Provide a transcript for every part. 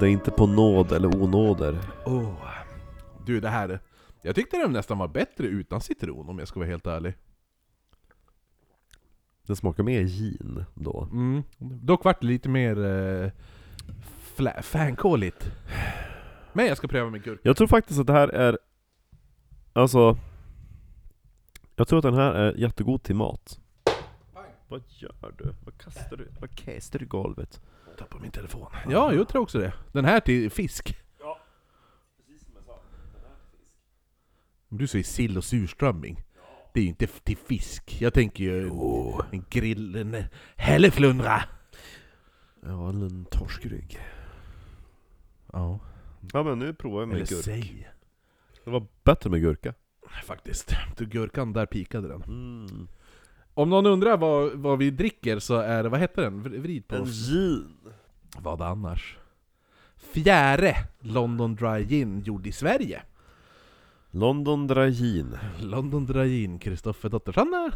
Det är inte på nåd eller onåder. Oh. Du, det här... Jag tyckte den nästan var bättre utan citron om jag ska vara helt ärlig. Den smakar mer gin då. Mm. Dock vart det lite mer... Eh, fla- fänkåligt. Men jag ska pröva med gurka. Jag tror faktiskt att det här är... Alltså... Jag tror att den här är jättegod till mat. Vad gör du? Vad kastar du? Vad kastar du i golvet? Tappade min telefon. Ja, jag tror också det. Den här till fisk. Om Du säger sill och surströmming. Det är ju inte f- till fisk. Jag tänker ju en, en grill... En hälleflundra! Ja, eller en torskrygg. Ja. Ja men nu provar jag med Eller gurka. säg. Det var bättre med gurka. Faktiskt. Du, gurkan, där pikade den. Mm, Om någon undrar vad, vad vi dricker så är det, vad heter den? Vr- Vrid på En oss. gin. Vad annars? Fjärde London Dry Gin gjord i Sverige. London Dry Gin. London Dry Gin, Kristoffer Dottersson.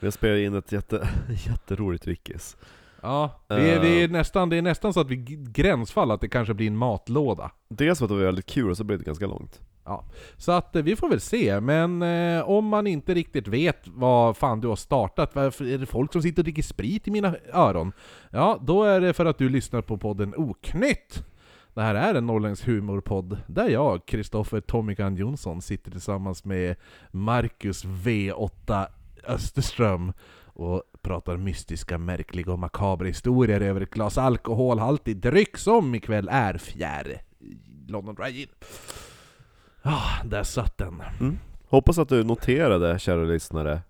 Vi har spelat in ett jätte, jätteroligt wikis. Ja, vi är, vi är nästan, det är nästan så att vi g- gränsfall att det kanske blir en matlåda. Dels för att det var väldigt kul och så blev det ganska långt. Så att eh, vi får väl se, men eh, om man inte riktigt vet vad fan du har startat, varför är det folk som sitter och dricker sprit i mina öron? Ja, då är det för att du lyssnar på podden Oknytt! Det här är en norrländsk humorpodd där jag, Kristoffer Tommikan Jonsson, sitter tillsammans med Marcus V8 Österström och pratar mystiska, märkliga och makabra historier över ett glas alkoholhaltig dryck som ikväll är fjär London Dry Gin. Ja, där satt den. Hoppas att du noterade, kära lyssnare,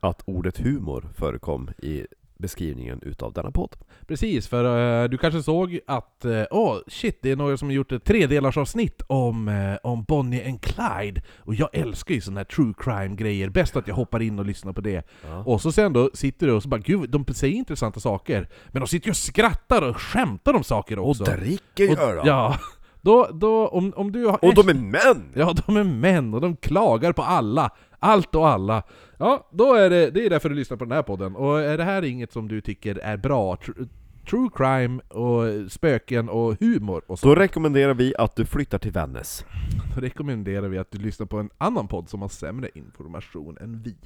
att ordet humor förekom i beskrivningen utav denna podd. Precis, för eh, du kanske såg att eh, åh shit, det är några som har gjort ett tredelarsavsnitt om, eh, om Bonnie and Clyde. Och jag älskar ju sådana här true crime-grejer, bäst att jag hoppar in och lyssnar på det. Och så sen då sitter du och så bara gud, de säger intressanta saker. Men de sitter ju och skrattar och skämtar om saker också. dricker Och- Ja, då, då om, om du har... Och de är män! Ja, de är män och de klagar på alla. Allt och alla. Ja, då är det, det är därför du lyssnar på den här podden. Och är det här inget som du tycker är bra, tr- true crime och spöken och humor och så, Då rekommenderar vi att du flyttar till Vännäs. då rekommenderar vi att du lyssnar på en annan podd som har sämre information än vi.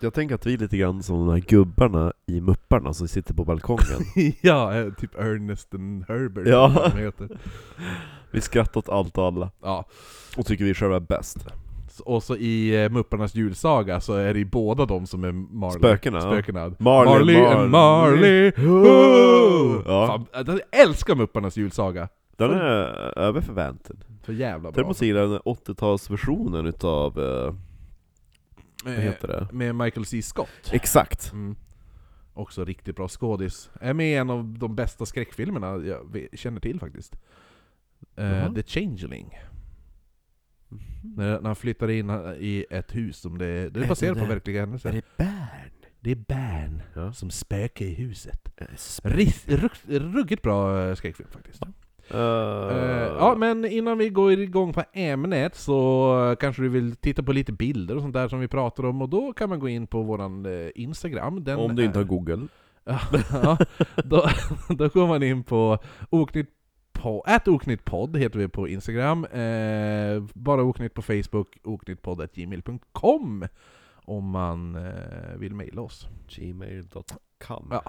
Jag tänker att vi är lite grann som de här gubbarna i Mupparna som sitter på balkongen. ja, eh, typ Ernest and Herbert. Ja. eller vad de heter. Vi skrattar åt allt och alla, ja. och tycker vi själva är bäst. S- Och så i eh, Mupparnas julsaga så är det ju båda de som är Marley. Spökena, ja. Spökena. Marley, Marley, and Marley. Oh! Ja. Fan, jag älskar Mupparnas julsaga. Den är över förväntan. För jävla bra. Däremot så gillar jag den 80-talsversionen utav, eh, Eh. vad heter det? Med Michael C. Scott. Exakt! Mm. Också riktigt bra skådis. Är med i en av de bästa skräckfilmerna jag ve- känner till faktiskt. Eh, Jaha. The Changeling. När, när han flyttar in eh, i ett hus som det, det är Är baserat det på det? verkliga händelser. det Bern? Det är Bern eh, Ja. Eh, som spökar i huset. Ris- ruk- Ruggigt bra eh, skräckfilm faktiskt. Eh, ja, men innan vi går igång på ämnet så kanske du vill titta på lite bilder och sånt där som vi pratar om och då kan man gå in på våran eh, Instagram. Den Om du inte är- har Google. ja, då, då går man in på oknytt på, at oknyttpodd heter vi på Instagram, eh, bara oknytt på Facebook, oknyttpodd.gmail.com om man eh, vill mejla oss. Gmail.com Ja.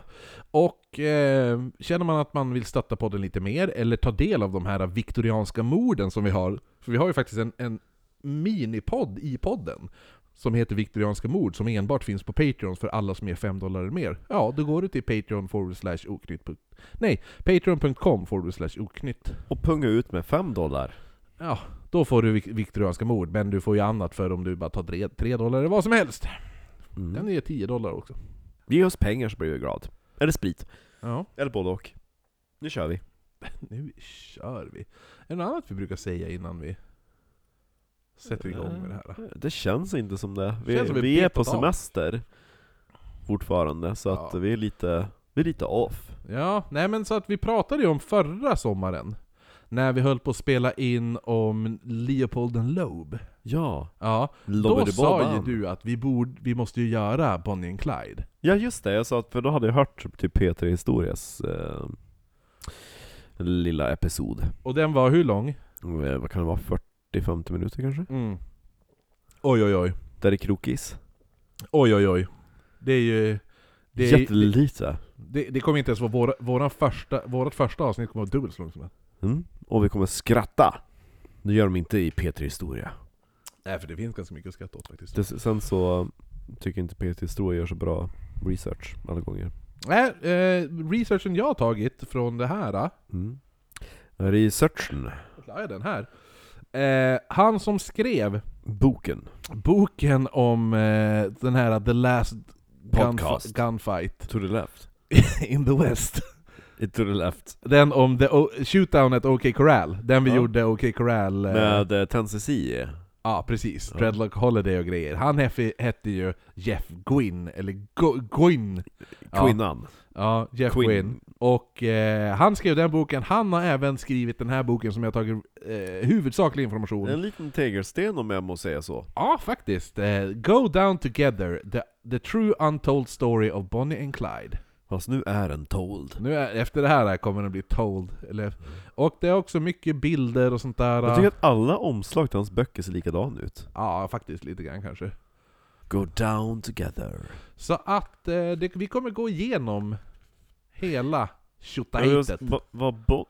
Och eh, känner man att man vill stötta podden lite mer, eller ta del av de här viktorianska morden som vi har, för vi har ju faktiskt en, en minipodd i podden, som heter Viktorianska mord, som enbart finns på Patreon för alla som ger 5 dollar eller mer. Ja, då går du till Patreon forward slash oknytt. punkt- Nej, Patreon.com forward slash oknytt. Och punga ut med 5 dollar. Ja, då får du vik- viktorianska mord, men du får ju annat för om du bara tar 3, 3 dollar eller vad som helst. Den är 10 dollar också. Mm. Ge oss pengar så blir vi glad. Eller sprit. Ja. Eller både och. Nu kör vi. Nu kör vi. Är det något annat vi brukar säga innan vi sätter igång med det här? Eh, Det känns inte som det. Vi, Känns som vi, vi är betat på av. semester fortfarande, så att Ja. vi är lite, vi är lite off. Ja, nej men så att vi pratade ju om förra sommaren. När vi höll på att spela in om Leopold and Loeb. Ja, Ja, då sa ju du att vi, borde, vi måste ju göra Bonnie and Clyde. Ja just det, jag sa att för då hade jag hört typ P3 Historias eh, Den lilla episod. Och den var hur lång? Eh, Vad kan det vara? 40-50 minuter kanske? Mm. Oj oj oj. Där är krokis. Oj oj oj. Det är ju... Det, är, Jättelite. det, det kommer inte ens vara våra, våran första, vårat första avsnitt kommer vara dubbelt så långt som det. Mm. Och vi kommer skratta. Det gör de inte i P3 Historia. Nej för det finns ganska mycket att skratta åt faktiskt. Det, sen så tycker inte P3 Historia gör så bra research alla gånger. Nej, eh, researchen jag har tagit från det här, eh, Mm. Researchen. jag har den här. Eh, han som skrev Boken. boken om eh, den här The Last Podcast. gunf- Gunfight To the left. in the West. To the left. Den om the o- Shootdown at OK Corral, den vi Ja. gjorde OK Corral... eh, Med eh, Tennessee. Ja, precis. Ja. Dreadlock Holiday och grejer. Han hef- hette ju Jeff Gwynn, eller Go- Gwynn. Ja. Kvinnan. Ja, Jeff Quinn. Quinn. Och eh, han skrev den boken, han har även skrivit den här boken som jag tagit eh, huvudsaklig information. En liten tegelsten om jag må säga så. Ja, faktiskt. Eh, Go Down Together, the, the True Untold Story of Bonnie and Clyde. Fast nu är den told. Nu är, efter det här kommer den bli told. Eller, och det är också mycket bilder och sånt där. Jag tycker att alla omslag till hans böcker ser likadana ut. Ja, faktiskt lite grann kanske. Go down together. Så att eh, det, vi kommer gå igenom hela tjottahitet. Vad va, bo-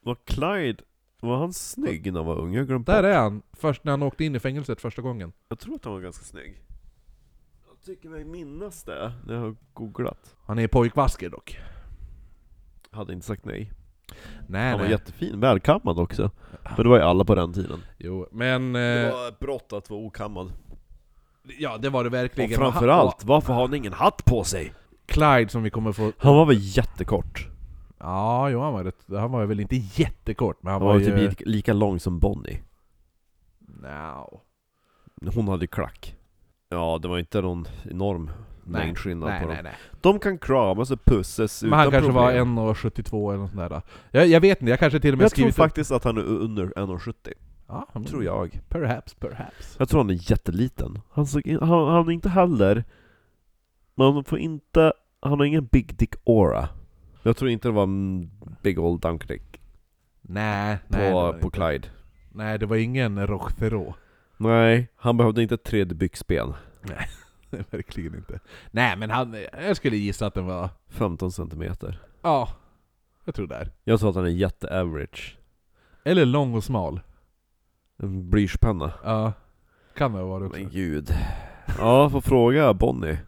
var Clyde, var han snygg när han var ung? Jag har glömt Där bort. är han, först när han åkte in i fängelset första gången. Jag tror att han var ganska snygg. Jag tycker mig minnas det när jag har googlat. Han är pojkvasker dock. Hade inte sagt nej. Nej, Han var nej. jättefin, välkammad också. Men det var ju alla på den tiden. Jo, men... Det Eh, var ett brott att vara okammad. ja, det var det Och verkligen. framförallt, varför har han ingen hatt på sig? Och Clyde som vi kommer få... Han var väl jättekort? Ja, jo, han var, rätt, han var väl inte jättekort, men han Han var, var ju... typ lika, lika lång som Bonnie. No. Hon hade ju klack. Ja, det var inte någon enorm Nej, mängdskillnad på Nej, dem. nej, nej. De kan kramas och pussas Men utan han kanske problem. var 1,72 eller något sånt där. Jag, jag vet inte, jag kanske till Men och med jag tror skrivit... Mm. faktiskt att han är under 1,70. ja, men- Tror jag. Perhaps, perhaps. Jag tror han är jätteliten. Han, såg in, han, han är inte heller... Men han får inte... Han har ingen big dick aura. Jag tror inte det var en big old dunk dick Nej, nej. det var på, det på inte. Clyde. Nej, det var ingen Rochtero. Nej, han behövde inte ett tredje byxben. verkligen inte. Nej, men han... Jag skulle gissa att den var... 15 centimeter. Ja, jag tror där. Jag tror att han är jätteaverage. Eller lång och smal. En blyertspenna. Ja. Kan det vara också. Men gud. Ja, får fråga Bonnie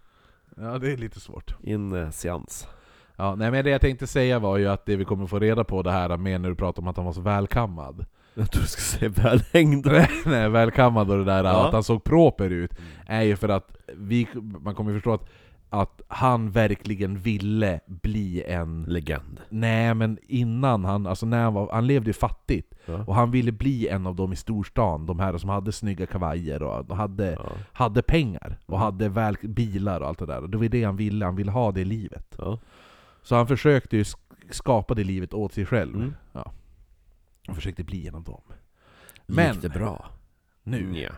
Ja, det är lite svårt. i en eh, seans. Ja, nej men det jag tänkte säga var ju att det vi kommer få reda på det här med när du pratar om att han var så välkammad. Jag tror du ska säga välhängd. nej, välkammad och det där Ja. Mm. att han såg proper ut är ju för att vi, man kommer förstå att, att han verkligen ville bli en... Legend. Nej men innan han, alltså när han var, han levde ju fattigt. Ja. Och han ville bli en av dem i storstan, de här som hade snygga kavajer och hade, Ja. hade pengar. Och Mm. hade väl, bilar och allt det där. Och det var det han ville, han ville ha det livet. Ja. Så han försökte ju sk- skapa det livet åt sig själv. Mm. Han försökte bli en av dem. Men- Men. Gick det bra? Nu. Ja.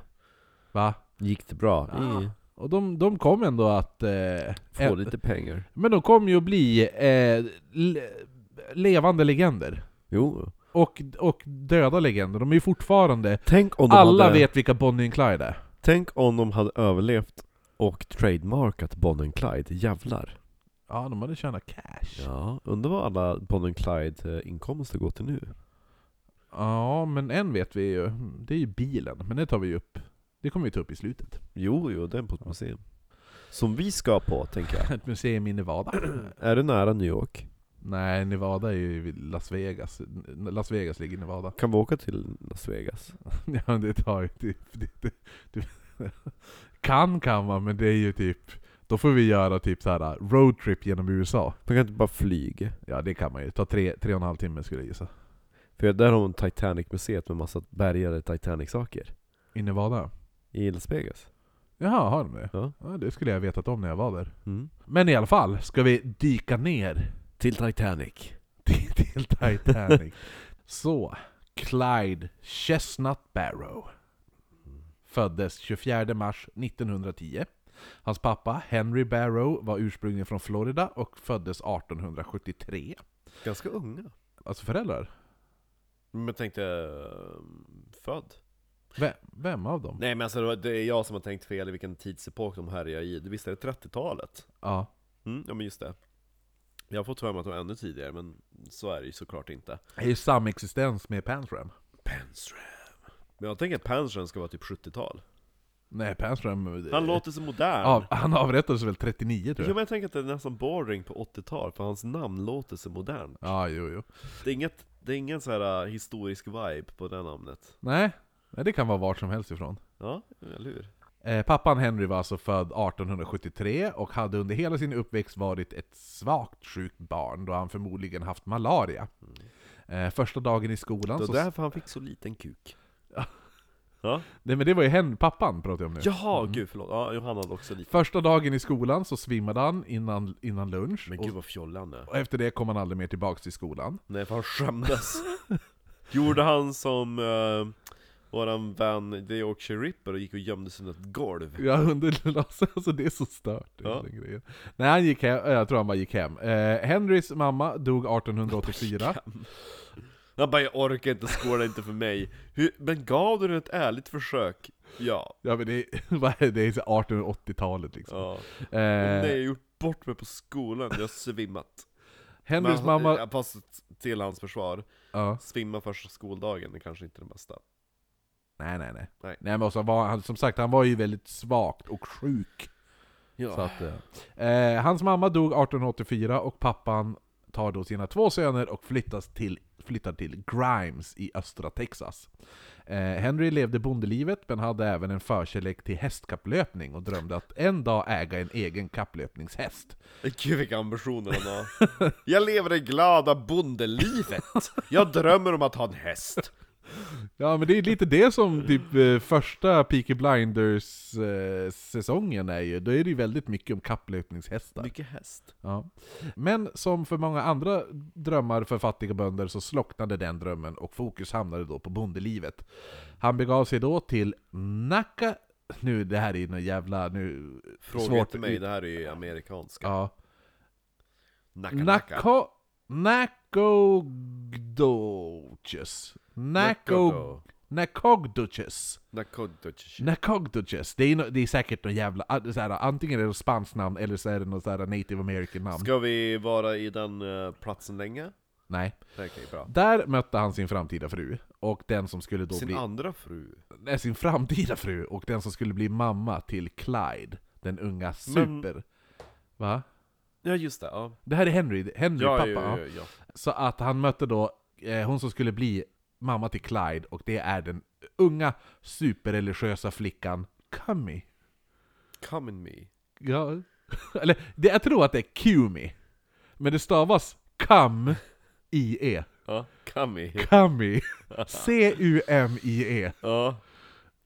Va? Gick det bra? Ja. Ja. Och de, de kom ändå att... Eh, Få eh, lite pengar. Men de kom ju att bli eh, le, levande legender. Jo. Och, och döda legender. De är ju fortfarande... Tänk om de Alla hade, vet vilka Bonnie och Clyde är. Tänk om de hade överlevt och trademarkat Bonnie and Clyde. Jävlar. Ja, de hade tjänat cash. Ja, Ja. Undrar vad alla Bonnie and Clyde-inkomster går till nu? men en vet vi ju. Hm, Det är ju bilen. Men det tar vi ju upp. Det kommer vi ta upp i slutet. Jo, jo, den på ett museum. Som vi ska på, tänker jag. Ett museum i Nevada. Är det nära New York? Nej, Nevada är ju vid Las Vegas. N- Las Vegas ligger i Nevada. Kan vi åka till Las Vegas? ja, men det tar ju typ... Det, det, det, kan kan man, men det är ju typ... Då får vi göra typ så här roadtrip genom USA. Man kan inte bara flyga. Ja, det kan man ju. Ta tre, tre och en halv timme skulle jag gissa. För där har de Titanic-museet med massa bergade Titanic-saker. I Nevada? I Las Vegas. Jaha, har de det? Ja. det skulle jag vetat om när jag var där. Mm. Men i alla fall, ska vi dyka ner Till Titanic. till, till Titanic. så, Clyde Chestnut Barrow. Föddes 24 mars 1910. Hans pappa Henry Barrow var ursprungligen från Florida och föddes 1873. Ganska unga. Alltså föräldrar? Men jag tänkte... eh, Född? Vem, vem av dem? Nej men alltså det var- det är jag som har tänkt fel i vilken tidsepok de härjar i. Du visste det 30-talet? Ja. Mm, ja men just det. Jag har fått för mig att de var ännu tidigare, men så är det ju såklart inte. Det är ju samexistens med Pansram. Penström. Men jag tänker att Penström ska vara typ 70-tal. Nej, Pansram... Han låter så modern. Av, han avrättades väl 39 Ja, tror men jag? jag tänker att det är nästan bordering på 80-tal, för hans namn låter så modern. Ja, jo, jo. Det är, inget, det är ingen så här äh, historisk vibe på det namnet. Nej, nej, det kan vara vart som helst ifrån. Ja, eller hur? Eh, pappan Henry var alltså född 1873 och hade under hela sin uppväxt varit ett svagt sjukt barn då han förmodligen haft malaria. Eh, första dagen i skolan Det så... var därför han fick så liten kuk. Ja. Nej men det var ju hen, pappan pratar jag om nu. Jaha, gud förlåt. Ja, Johan hade också lite. Första dagen i skolan så svimmade han innan, innan lunch. Men och, gud vad fjollig han är. och efter det kom han aldrig mer tillbaks till skolan. Nej, för han skämdes. Gjorde han som eh, våran vän The Yorkshire Ripper och gick och gömde sig under ett golv. Jag underlade, alltså det är så stört. det är Ja. Den grejen. Nej, han gick hem, eh, jag tror han bara gick hem. Eh, Henrys mamma dog 1884. Han bara 'Jag orkar inte, skåla inte för mig' Hur, Men gav du den ett ärligt försök? Ja. Ja men det, vad är det är så 1880-talet liksom. ja. Eh, Nej, jag har gjort bort mig på skolan, jag har svimmat. Henrys Men- mamma... ja, Fast till hans försvar, Ja. svimma första skoldagen är kanske inte det bästa. Nej, nej, nej. Nej. Nej, men också var han, som sagt, han var ju väldigt svagt och sjuk. Ja. Så att, eh, eh, hans mamma dog 1884 och pappan tar då sina två söner och flyttas till, flyttar till Grimes i östra Texas. Eh, Henry levde bondelivet men hade även en förkärlek till hästkapplöpning och drömde att en dag äga en egen kapplöpningshäst. Gud vilka ambitioner han har. Jag lever det glada bondelivet. Jag drömmer om att ha en häst. Ja men det är lite det som typ eh, första Peaky Blinders eh, säsongen är ju. Då är det ju väldigt mycket om kapplöpningshästar. Mycket häst. Ja. Men som för många andra drömmar för fattiga bönder så slocknade den drömmen och fokus hamnade då på bondelivet. Han begav sig då till Nacka... Nu, det här är ju någon jävla... Nu, Fråga svårt- inte mig, det här är ju amerikanska. Ja. Nacka, nacka. Nacka... Nacogdoches. Naco... Nacogdoches. Nakodutsch. Nacogdoches. Det är, no, det är säkert någon jävla... ah, Så här, antingen är det något spanskt namn eller så är det något så här native american namn. Ska vi vara i den eh, platsen länge? Nej. Okej, bra. Där mötte han sin framtida fru, och den som skulle då Sin bli... andra fru. Nej, sin framtida fru, och den som skulle bli mamma till Clyde, den unga Men- super... Va? Ja just det, ja. Det här är Henry, Henry Ja, pappa. ja, ja, ja. ja. Så att han mötte då eh, hon som skulle bli mamma till Clyde, och det är den unga superreligiösa flickan Cummy. Come in me. Ja. Eller, det, jag tror att det är Cumi. Men det stavas Cum i e Ja, come in. Cummy. C-U-M-I-E. Ja. E.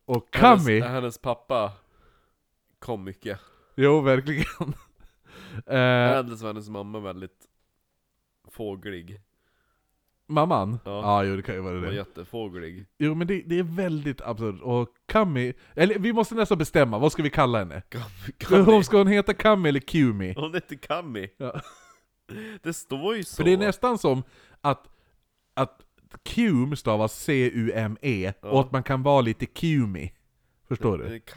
Och Cummy... Hennes, hennes pappa kom mycket. Jo, verkligen. Äh. Eh, Hennes, hennes mamma väldigt fåglig. mamman? Ja. Ja. jo det kan ju vara Hon var det. jättefåglig. Jo men det, det är väldigt absurt. Och Kami, eller vi måste nästan bestämma, vad ska vi kalla henne? Come, Hon, come ska hon heta Kami eller Kumi? Hon heter Kami. Ja. Det står ju så. För det är nästan som att, att Cum stavas C-U-M-E, Ja. E, och att man kan vara lite Kumi. Förstår du? Okej, Eh,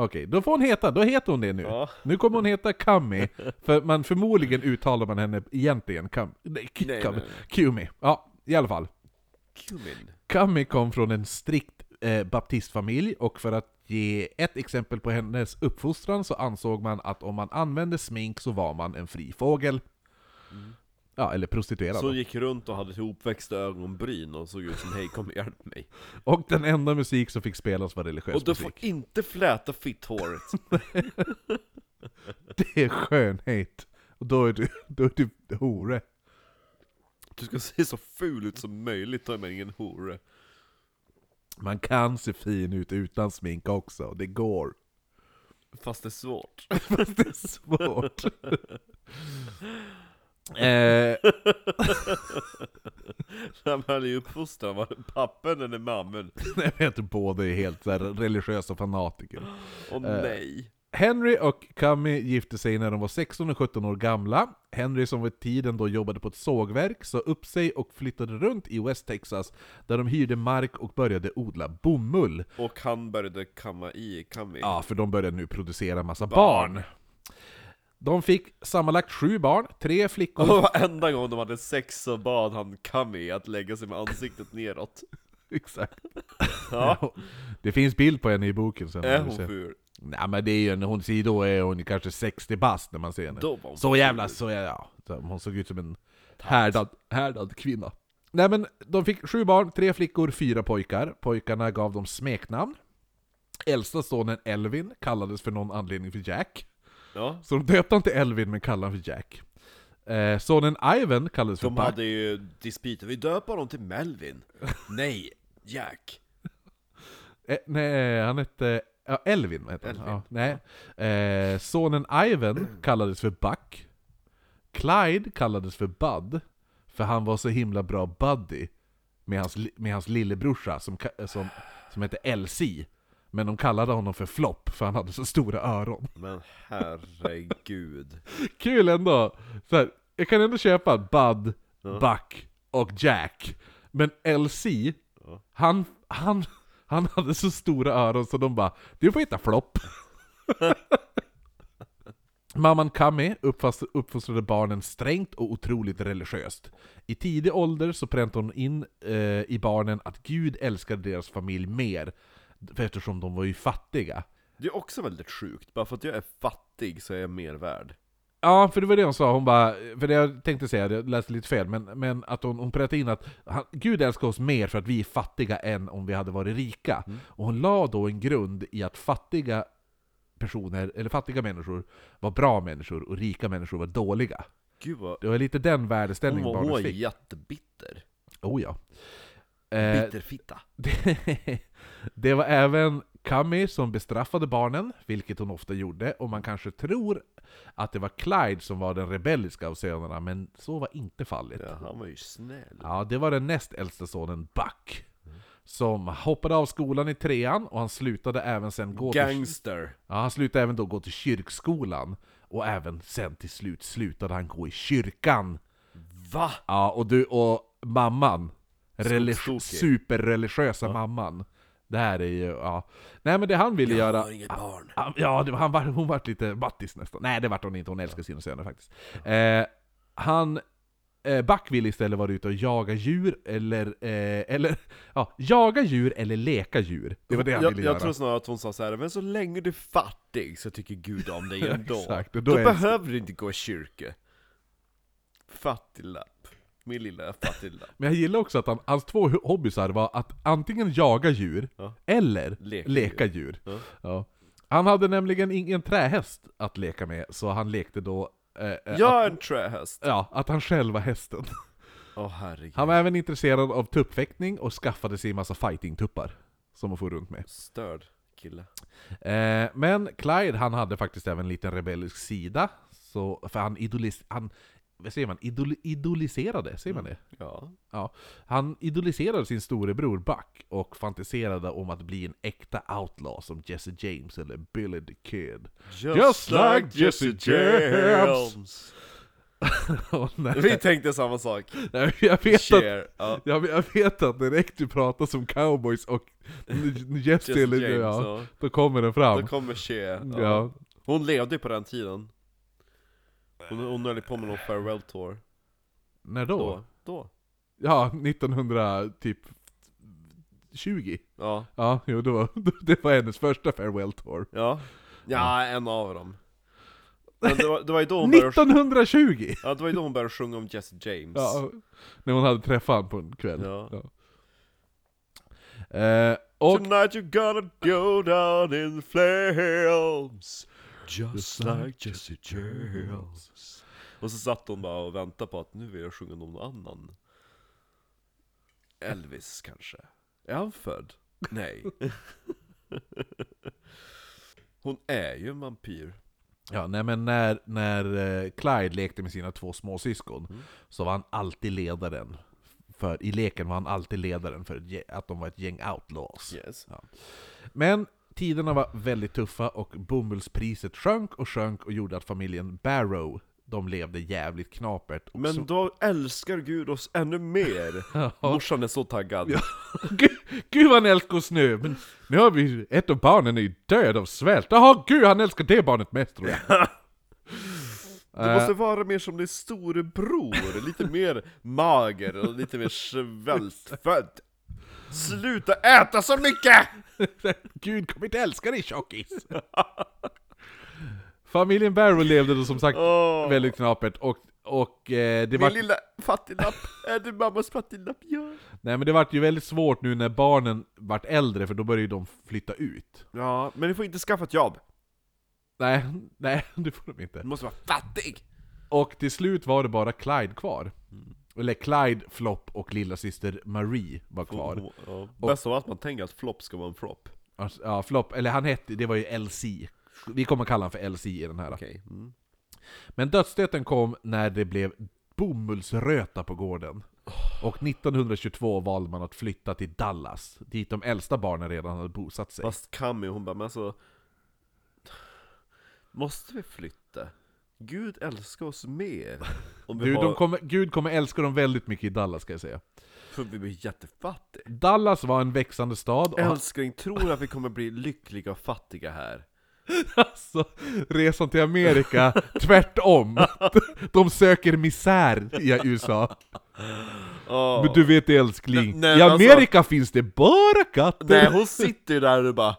Kami. då får hon heta, då heter hon det nu. Ja. Nu kommer hon heta Kami, för man förmodligen uttalar man henne egentligen Kami. Nej, Nej, Kami. nej, nej. Kumi. Ja, i alla fall. Kumin. Kami kom från en strikt eh, baptistfamilj och för att ge ett exempel på hennes uppfostran så ansåg man att om man använde smink så var man en fri fågel. Ja, eller prostituerad. Mm. Så hon gick runt och hade ihopväxta ögonbryn och såg ut som 'Hej kom och hjälp mig' Och den enda musik som fick spelas var Och religiös du får musik. inte fläta fitthåret! Det är skönhet. Och då är du, då är du hore. Du ska se så ful ut som möjligt, ta med ingen hore. Man kan se fin ut utan smink också, det går. Fast det är svårt. Fast det är svårt. eh, När man är uppfostrad, var det pappen eller mammen? jag vet inte, båda är helt så här religiösa fanatiker. Åh nej! Henry och Cammy gifte sig när de var 16 och 17 år gamla. Henry som vid tiden då jobbade på ett sågverk sa upp sig och flyttade runt i West Texas, där de hyrde mark och började odla bomull. Och han började kamma i Cammy. Ja, för de började nu producera massa Barn. barn. De fick sammanlagt sju barn, tre flickor. Och varenda gång de hade sex så bad han Cammy att lägga sig med ansiktet neråt. Exakt. Ja. Det finns bild på henne i boken sen. Är när du hon ser. ful? Nej men det är ju, när hon ser då är hon kanske 60 bast när man ser henne. Då var hon Så jävla, så jävla, ja. Så Hon såg ut som en härdad, härdad kvinna. Nej men, de fick sju barn, tre flickor, fyra pojkar. Pojkarna gav dem smeknamn. Äldsta sonen Elvin kallades för någon anledning för Jack. Ja. Så de döpte han till Elvin men kallade honom för Jack. Eh, sonen Ivan kallades för De Buck. hade ju dispyter, vi döper honom till Melvin. Nej, Jack. Eh, nej, han hette... Ja, Elvin hette han. Elvin. Ja, nej. Eh, sonen Ivan kallades för Buck. Clyde kallades för Bud. För han var så himla bra buddy med hans, li- med hans lillebrorsa som, ka- som, som hette LC. Men de kallade honom för Flopp för han hade så stora öron. Men herregud. Kul ändå! Så här, jag kan ändå köpa Bud, Buck och Jack. Men LC, han, han, han hade så stora öron så de bara Du får hitta flopp. Mamman Kami uppfast- uppfostrade barnen strängt och otroligt religiöst. I tidig ålder så präntade hon in eh, i barnen att Gud älskade deras familj mer, för eftersom de var ju fattiga. Det är också väldigt sjukt, bara för att jag är fattig så är jag mer värd. Ja, för det var det hon sa, hon bara, för det jag tänkte säga, jag läste lite fel, men, men att hon, hon pratade in att han, Gud älskar oss mer för att vi är fattiga än om vi hade varit rika. Och hon la då en grund i att fattiga personer, eller fattiga människor, var bra människor och rika människor var dåliga. Gud vad... Det var lite den Hon värdeställningen var, hon barnen var fick. jättebitter. Oh ja. Eh, Bitterfitta. det, det var även Cammy som bestraffade barnen, vilket hon ofta gjorde, och man kanske tror att det var Clyde som var den rebelliska av sönerna, men så var inte fallet. Ja, han var ju snäll. Ja, det var den näst äldsta sonen Buck, som hoppade av skolan i trean, och han slutade även sen gå till, Gangster. ja, han slutade även då gå till kyrkskolan, och även sen till slut slutade han gå i kyrkan. Va? Ja, och du och mamman. Religi- Skogstokig. superreligiösa mamman. Det här är ju, ja. Nej men det han ville göra... har inget barn. Han, ja, det var, han var, hon vart lite battis nästan. Nej, det vart hon inte. Hon älskar sina söner faktiskt. Eh, han... Eh, Back ville istället vara ute och jaga djur, eller... Eh, eller ja, jaga djur eller leka djur. Det var det han jag, ville jag göra. tror snarare att hon sa så här, men så länge du är fattig så tycker Gud om dig ändå. Exakt, och då då är- behöver du inte gå i kyrka. Fattiglapp. Min lilla fattiglapp. Men jag gillar också att han, hans två hobbysar var att antingen jaga djur, Ja. eller Leka leka, djur. Ja. Ja. Han hade nämligen ingen trähäst att leka med, så han lekte då eh, eh, Jag att, är en trähäst. ja, att han själv var hästen. Åh herregud. Han var även intresserad av tuppfäktning och skaffade sig en massa fightingtuppar som han for runt med. Störd kille. Eh, men Clyde, han hade faktiskt även en liten rebellisk sida, så, för han, idolis, han vad säger man, idol, idoliserade, säger man Mm. det? Ja. Ja, han idoliserade sin storebror Buck och fantiserade om att bli en äkta outlaw som Jesse James eller Billy the Kid. Just like Jesse James. Åh, Vi nej, tänkte samma sak. nej, jag, vet att, Cher. Ja. jag, vet- jag vet att direkt du pratar som cowboys och Jesse Jesse eller James. ja, Ja. då kommer den Då fram. kommer Cher. Ja. Ja. Hon levde ju på den tiden. Hon, hon höll ju på med någon farewell tour. När då? Då. Då. Ja, 1900 typ 20. Ja. Ja, jo, det, var, det var hennes första farewell tour. Ja, ja en av dem. Men det, var, det, var ju då hon började, 1920! ja, det var ju då hon började sjunga om Jesse James. Ja, när hon hade träffat honom på en kväll. Ja. Eh, och Tonight you're gonna go down in flames Just like Jesse James Och så satt hon bara och väntade på att nu vill jag sjunga någon annan Elvis kanske? Är han född? Nej Hon är ju en vampyr ja, nej, men när, när eh, Clyde lekte med sina två småsyskon så var han alltid ledaren. För, I leken var han alltid ledaren för ett, gäng- att de var ett gäng outlaws. Yes Men Tiderna var väldigt tuffa och bomullspriset sjönk och sjönk och gjorde att familjen Barrow, de levde jävligt knapert. Och så- Men då älskar Gud oss ännu mer! Morsan är så taggad. Ja. gud, gud vad han älskar oss nu! Men nu har vi... Ett av barnen är ju död av svält. Jaha, gud han älskar det barnet mest tror jag. Du måste vara mer som din storebror, lite mer mager och lite mer svältfödd. Sluta äta så mycket! Gud kommer inte älska dig tjockis! Familjen Barrow levde då som sagt Åh, väldigt knapert och, och eh, det var... Min lilla fattiglapp, är det mammas fattiglapp? Ja. Nej men det vart ju väldigt svårt nu när barnen vart äldre för då började ju de flytta ut. ja, men du får inte skaffa ett jobb. Nej, nej det får de inte. Du måste vara fattig! Och till slut var det bara Clyde kvar. Eller Clyde, Flopp och lilla syster Marie var kvar. Ja. Oh, Bäst av allt, man tänker att flopp ska vara en flopp. Alltså, Ja, Flopp, eller han hette, det var ju LC. Vi kommer kalla honom för LC i den här. Okej. Mm. Men dödsstöten kom när det blev bomullsröta på gården. Och 1922 valde man att flytta till Dallas, dit de äldsta barnen redan hade bosatt sig. Fast Cammy, hon bara, men alltså... Måste vi flytta? Gud älskar oss mer. Om vi Du, har... de kommer, Gud kommer älska dem väldigt mycket i Dallas ska jag säga. För vi blir jättefattiga. Dallas var en växande stad och Älskling, tror du att vi kommer bli lyckliga och fattiga här? alltså, resan till Amerika tvärtom. De söker misär i USA. Åh. Men du vet älskling, Nej, nej, i alltså- Amerika finns det bara katter! Nej, hon sitter ju där och bara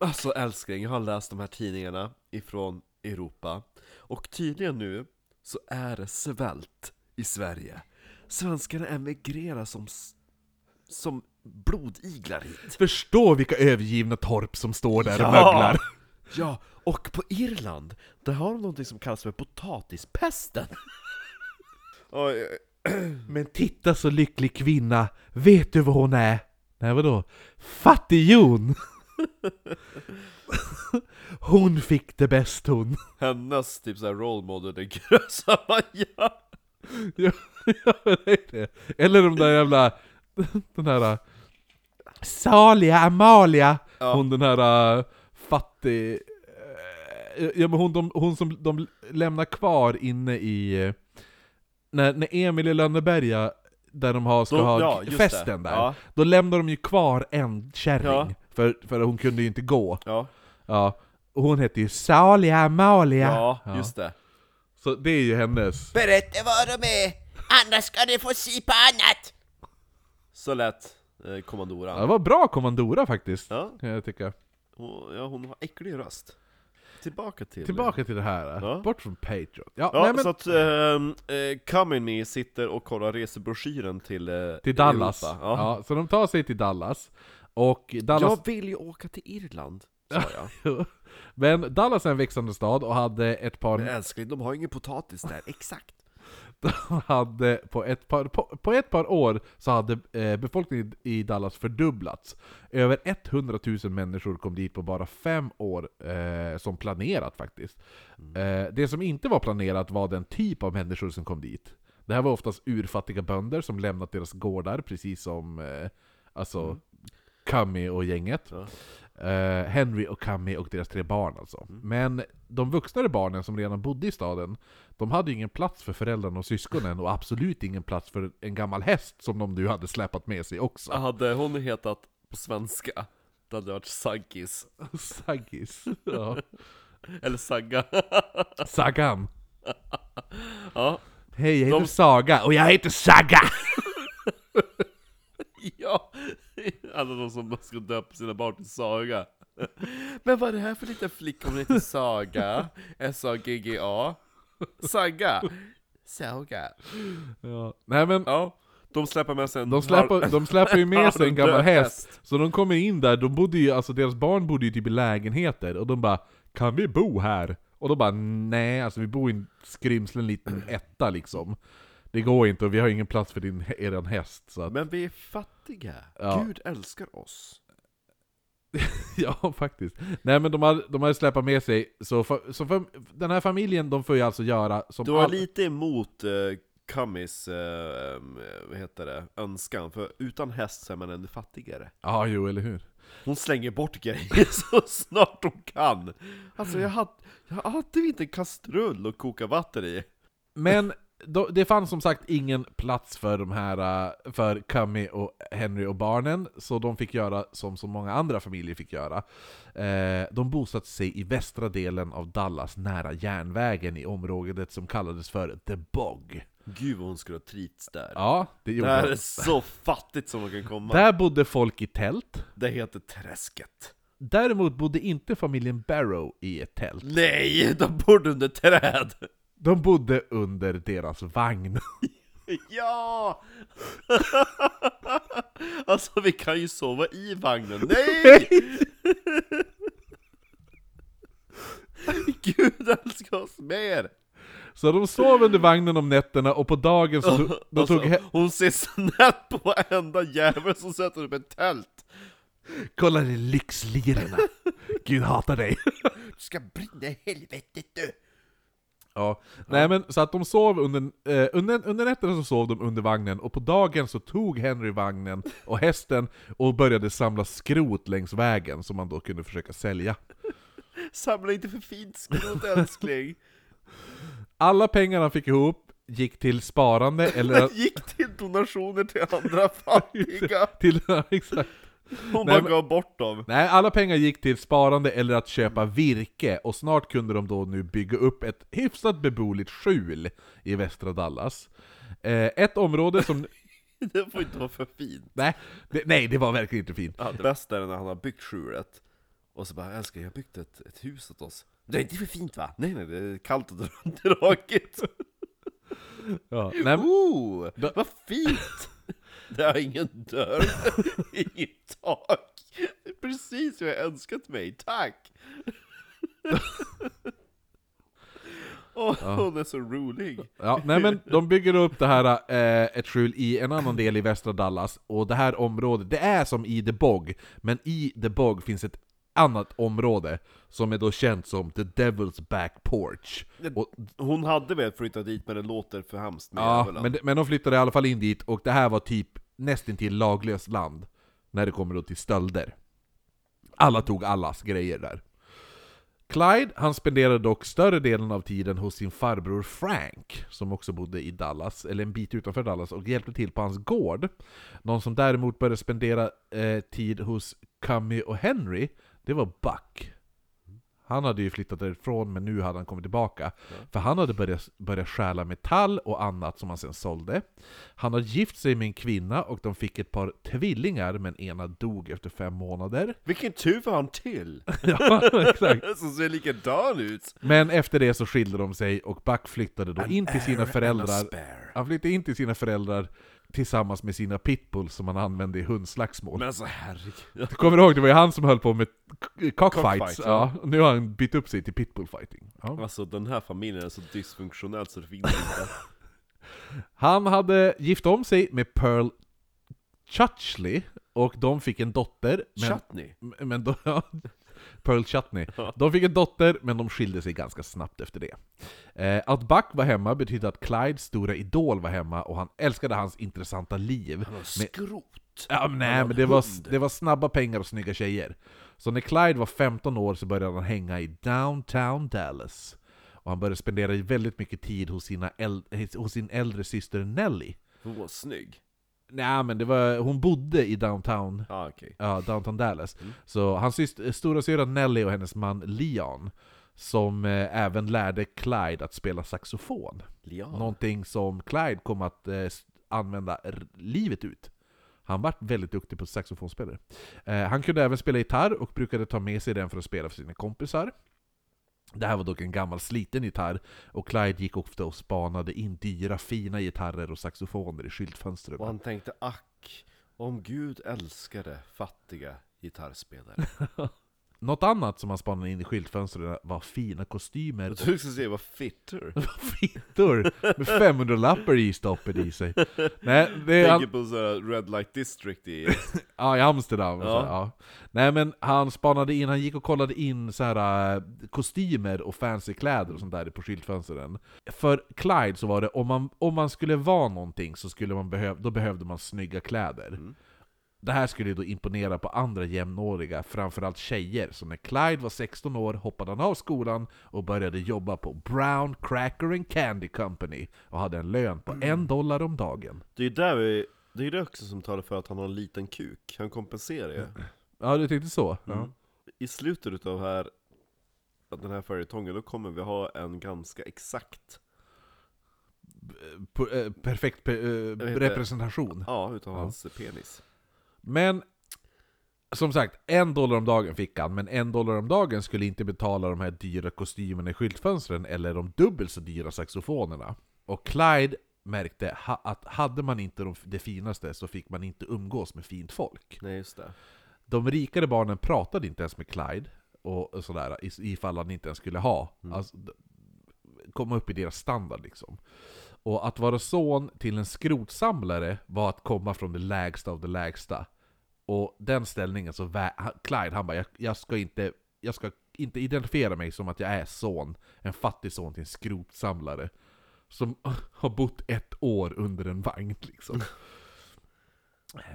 Alltså älskling, jag har läst de här tidningarna ifrån Europa Och tydligen nu så är det svält i Sverige Svenskarna emigrerar som, s- som blodiglar hit Förstå vilka övergivna torp som står där Ja. och möglar! Ja, och på Irland, där har de någonting som kallas för potatispesten Oj, Men titta så lycklig kvinna, vet du vad hon är? Nej vadå? Fattighjon! hon fick det bäst hon! hennes typ såhär role model är Grösa Maja ja, ja, det är det. Eller de där jävla... Den här... Salia Amalia! Ja. Hon den här äh, fattig... eh, Ja men hon, de, hon som de lämnar kvar inne i... eh, När, när Emil i Lönneberga, där de har, ska ha ja, just det. festen där, Ja, då lämnar de ju kvar en kärring. Ja. För, för hon kunde ju inte gå. ja, Ja. Och Hon heter ju Salia Amalia. ja, Ja. just det Så det är ju hennes. Berätta vad de är, annars ska ni få se på annat! Så lät eh, kommandoran Ja, det var bra kommandora faktiskt. Ja, Kan jag tycka. hon, ja, hon har äcklig röst. Tillbaka till... Tillbaka till det här, Ja. bort från Patreon. Ja, Ja, nej, men, så att ehm, eh, Come In Me sitter och kollar resebroschyren till... Eh, till Dallas. Europa. Ja. Ja. så de tar sig till Dallas. Och Dallas... Jag vill ju åka till Irland, sa jag. Men Dallas är en växande stad och hade ett Men par... älskling, de har ju ingen potatis där. Exakt. De hade på, ett par på, på ett par år så hade eh, befolkningen i Dallas fördubblats. Över 100 000 människor kom dit på bara fem år eh, som planerat faktiskt. Eh, det som inte var planerat var den typ av människor som kom dit. Det här var oftast urfattiga bönder som lämnat deras gårdar, precis som eh, alltså, Cammy och gänget. Ja. Eh, Henry och Cammy och deras tre barn alltså. Men de vuxnare barnen som redan bodde i staden, de hade ju ingen plats för föräldrarna och syskonen och absolut ingen plats för en gammal häst som de nu hade släpat med sig också. Hade hon hetat på svenska, det hade varit Saggis. Saggis. Ja. Eller Sagga. Sagan. ja. Hej, jag heter De- Saga och jag heter Saga! ja. Alla de som ska döpa sina barn till Saga. Men vad är det här för liten flicka? Hon heter Saga. S-A-G-G-A. Saga. Saga. Ja. Nej men, Ja, de släpper med sig en de släpper, de släpper ju med sig en gammal Död häst. Så de kommer in där, de bodde ju, alltså deras barn bodde ju typ i lägenheter, och de bara 'Kan vi bo här?' Och de bara 'Nej, alltså vi bor i en skrymslen liten etta liksom. Det går inte och vi har ingen plats för din, eran häst' så att, Men vi är fattiga. Ja. Gud älskar oss. Ja, faktiskt. Nej men de hade, de hade släpat med sig, så, fa- så fa- den här familjen de får ju alltså göra som Du var all- lite emot eh, Kammis, eh, vad heter det, önskan. För utan häst så är man ännu fattigare. Ja, jo, eller hur? Hon slänger bort grejer så snart hon kan. Alltså jag hade, jag hade inte en kastrull att koka vatten i. Men då, det fanns som sagt ingen plats för de här, eh, för Cammy och Henry och barnen, så de fick göra som så många andra familjer fick göra. Eh, De bosatte sig i västra delen av Dallas, nära järnvägen, i området som kallades för The Bog. Gud vad hon skulle ha trivts där. Ja, det det gjorde här de. är så fattigt som man kan komma. Där bodde folk i tält. Det heter träsket. Däremot bodde inte familjen Barrow i ett tält. Nej, de bor under träd! De bodde under deras vagn. Ja! alltså vi kan ju sova i vagnen. Nej! Gud älskar oss mer! Så de sov under vagnen om nätterna och på dagen så tog, de Alltså, tog he- Hon ser snett på varenda jävel som sätter upp ett tält! Kolla de lyxlirarna! Gud hatar dig! Du ska brinna i helvetet du! Ja. Nej men så att de sov under, eh, under, under nätterna så sov de under vagnen, och på dagen så tog Henry vagnen och hästen och började samla skrot längs vägen som man då kunde försöka sälja. Samla inte för fint skrot älskling! Alla pengar han fick ihop gick till sparande eller... Gick till donationer till andra fattiga! till, exakt. Hon Nej, bara men- gav bort dem! Nej, alla pengar gick till sparande eller att köpa virke, och snart kunde de då nu bygga upp ett hyfsat beboeligt skjul i västra Dallas. Eh, ett område som... Det får inte vara för fint! nej, det, nej, det var verkligen inte fint. Ja, det bästa är när han har byggt skjulet Och så bara 'Älskling, jag har byggt ett, ett hus åt oss' Det är inte för fint va? Nej nej, det är kallt och dragigt! Ja, nej, men- Oh, Då- vad fint! Det har ingen dörr, inget tak Det är Precis vad jag önskat mig, tack! Åh, Hon är så rolig! ja, nej men de bygger upp det här, eh, ett skjul i en annan del i västra Dallas, och det här området, det är som i The Bog, men i The Bog finns ett annat område som är då känt som The Devil's Back Porch. Och Hon hade väl flyttat dit men det låter för hemskt med Ja, djävulen. men, de- men de flyttade i alla fall in dit, och det här var typ nästintill laglöst land när det kommer då till stölder. Alla tog allas grejer där. Clyde, han spenderade dock större delen av tiden hos sin farbror Frank, som också bodde i Dallas, eller en bit utanför Dallas, och hjälpte till på hans gård. Någon som däremot började spendera eh, tid hos Cummy och Henry, det var Buck. Han hade ju flyttat därifrån, men nu hade han kommit tillbaka. För han hade börjat, börjat stjäla metall och annat som han sen sålde. Han hade gift sig med en kvinna och de fick ett par tvillingar, men ena dog efter fem månader. Vilken tur var han till! Ja, exakt. Som ser likadan ut! Men efter det så skilde de sig och Buck flyttade då in till sina föräldrar. Spare. Han flyttade in till sina föräldrar tillsammans med sina pitbulls som han använde i hundslagsmål. Men alltså herregud. Du kommer ihåg, det var ju han som höll på med k- cockfights. Cockfights, Ja, nu har han bytt upp sig till pitbullfighting. Ja. Alltså den här familjen är så dysfunktionell så det finns inte. Han hade gift om sig med Pearl Chutchley och de fick en dotter. Men, Chutney. men då, ja, Pearl Chutney. De fick en dotter, men de skilde sig ganska snabbt efter det. Eh, att Buck var hemma betydde att Clydes stora idol var hemma och han älskade hans intressanta liv. Men- Skrot. Ja, men nej, men det var, det var snabba pengar och snygga tjejer. Så när Clyde var 15 år så började han hänga i downtown Dallas. Och han började spendera väldigt mycket tid hos, sina äl- hos sin äldre syster Nelly. Hon var snygg. Nej men det var, hon bodde i downtown, Ja ah, okej. ja, downtown Dallas. Så hans syster, stora syra Nelly och hennes man Leon, som eh, även lärde Clyde att spela saxofon. Lian. Någonting som Clyde kom att eh, s- använda r- livet ut. Han var väldigt duktig på saxofonspelare. Eh, han kunde även spela gitarr och brukade ta med sig den för att spela för sina kompisar. Det här var dock en gammal sliten gitarr, och Clyde gick ofta och spanade in dyra fina gitarrer och saxofoner i skyltfönstren. Och han tänkte ack, om Gud älskade fattiga gitarrspelare. Något annat som han spanade in i skyltfönstren var fina kostymer Jag och trodde du skulle säga vad fitter. fittor med 500-lappar i stoppet i sig. Nej, det Tänker är han, på sådär red light district i... ja, i Amsterdam. Så, Ja. här, ja. Nej men han spanade in, han gick och kollade in så här, eh, kostymer och fancy kläder och sånt där på skyltfönstren. För Clyde så var det, om man, om man skulle vara någonting så skulle man behöv, då behövde man snygga kläder. Det här skulle ju då imponera på andra jämnåriga, framförallt tjejer, så när Clyde var 16 år hoppade han av skolan och började jobba på Brown Cracker and Candy Company och hade en lön på en dollar om dagen. Det är ju där vi, det är ju det också som talar för att han har en liten kuk, han kompenserar ju. Ja, du tyckte så? Ja. I slutet utav här, den här följetongen, då kommer vi ha en ganska exakt, P- eh, perfekt pe- eh, vet inte. representation. ja, utav hans penis. Men som sagt, en dollar om dagen fick han, men en dollar om dagen skulle inte betala de här dyra kostymerna i skyltfönstren eller de dubbelt så dyra saxofonerna. Och Clyde märkte ha- att hade man inte de- det finaste så fick man inte umgås med fint folk. Nej just det. De rikare barnen pratade inte ens med Clyde, och och sådär, is- ifall han inte ens skulle ha. Alltså, d- komma upp i deras standard liksom. Och att vara son till en skrotsamlare var att komma från det lägsta av det lägsta. Och den ställningen så, vä- han- Clyde han bara, jag, jag ska inte, jag ska inte identifiera mig som att jag är son, en fattig son till en skrotsamlare. Som har bott ett år under en vagn liksom.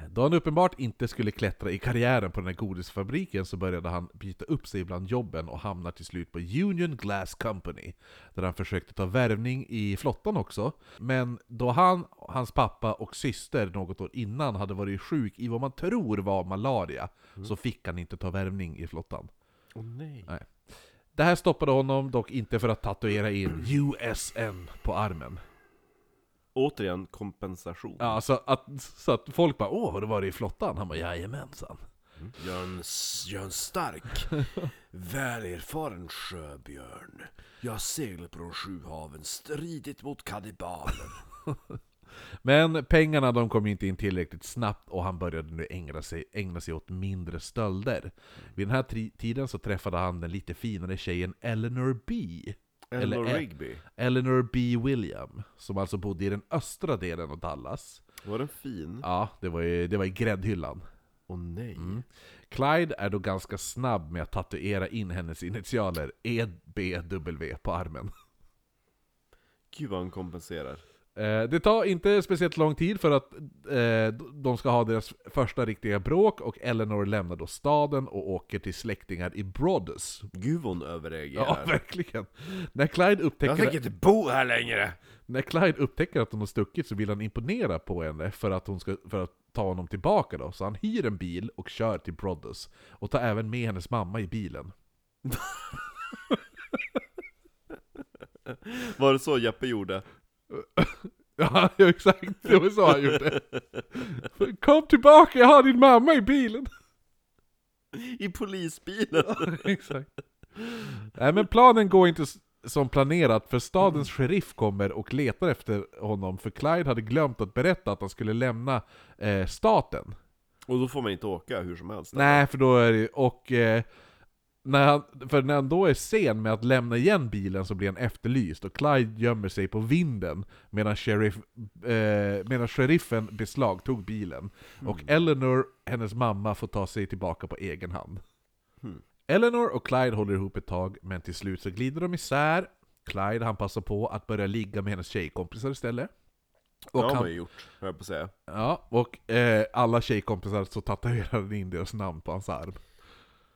Då han uppenbart inte skulle klättra i karriären på den här godisfabriken så började han byta upp sig bland jobben och hamnar till slut på Union Glass Company. Där han försökte ta värvning i flottan också. Men då han, hans pappa och syster något år innan hade varit sjuk i vad man tror var malaria så fick han inte ta värvning i flottan. Åh nej. Det här stoppade honom dock inte för att tatuera in USN på armen. Återigen kompensation. Ja, alltså att, så att folk bara ”Åh, har du varit i flottan?” Han bara ”Jajamensan”. Jön, Jön Stark, välerfaren sjöbjörn. Jag seglat på de sju haven, stridit mot kannibaler. Men pengarna de kom inte in tillräckligt snabbt och han började nu ägna sig, ägna sig åt mindre stölder. Vid den här tri- tiden så träffade han den lite finare tjejen Eleanor B. Eleanor eller- Rigby. Eleanor B. William, som alltså bodde i den östra delen av Dallas. Var den fin? Ja, det var ju, det var i gräddhyllan. Åh nej. Clyde är då ganska snabb med att tatuera in hennes initialer EBW på armen. Gud vad han kompenserar. Eh, Det tar inte speciellt lång tid för att eh, de ska ha deras första riktiga bråk och Eleanor lämnar då staden och åker till släktingar i Brodus. Gud vad hon Ja, överreagerar. verkligen. När Clyde, Jag tänker upptäcker, inte bo här längre! när Clyde upptäcker att hon har stuckit så vill han imponera på henne för att, hon ska, för att ta honom tillbaka då. Så han hyr en bil och kör till Brodus. Och tar även med hennes mamma i bilen. Var det så Jeppe gjorde? Ja, exakt. Det var så han gjorde. Kom tillbaka, jag har din mamma i bilen! I polisbilen! Exakt. Nej men planen går inte s- som planerat, för stadens sheriff kommer och letar efter honom, för Clyde hade glömt att berätta att han skulle lämna eh, staten. Och då får man inte åka hur som helst. Nej, för då är det och... Eh, när han, för när han då är sen med att lämna igen bilen så blir han efterlyst och Clyde gömmer sig på vinden medan, sheriff, eh, medan sheriffen beslagtog bilen. Och Eleanor, hennes mamma, får ta sig tillbaka på egen hand. Eleanor och Clyde håller ihop ett tag, men till slut så glider de isär. Clyde han passar på att börja ligga med hennes tjejkompisar istället. Det Och har han- man ju gjort, höll jag på att säga. Ja, och eh, alla tjejkompisar så tatuerade han in deras namn på hans arm.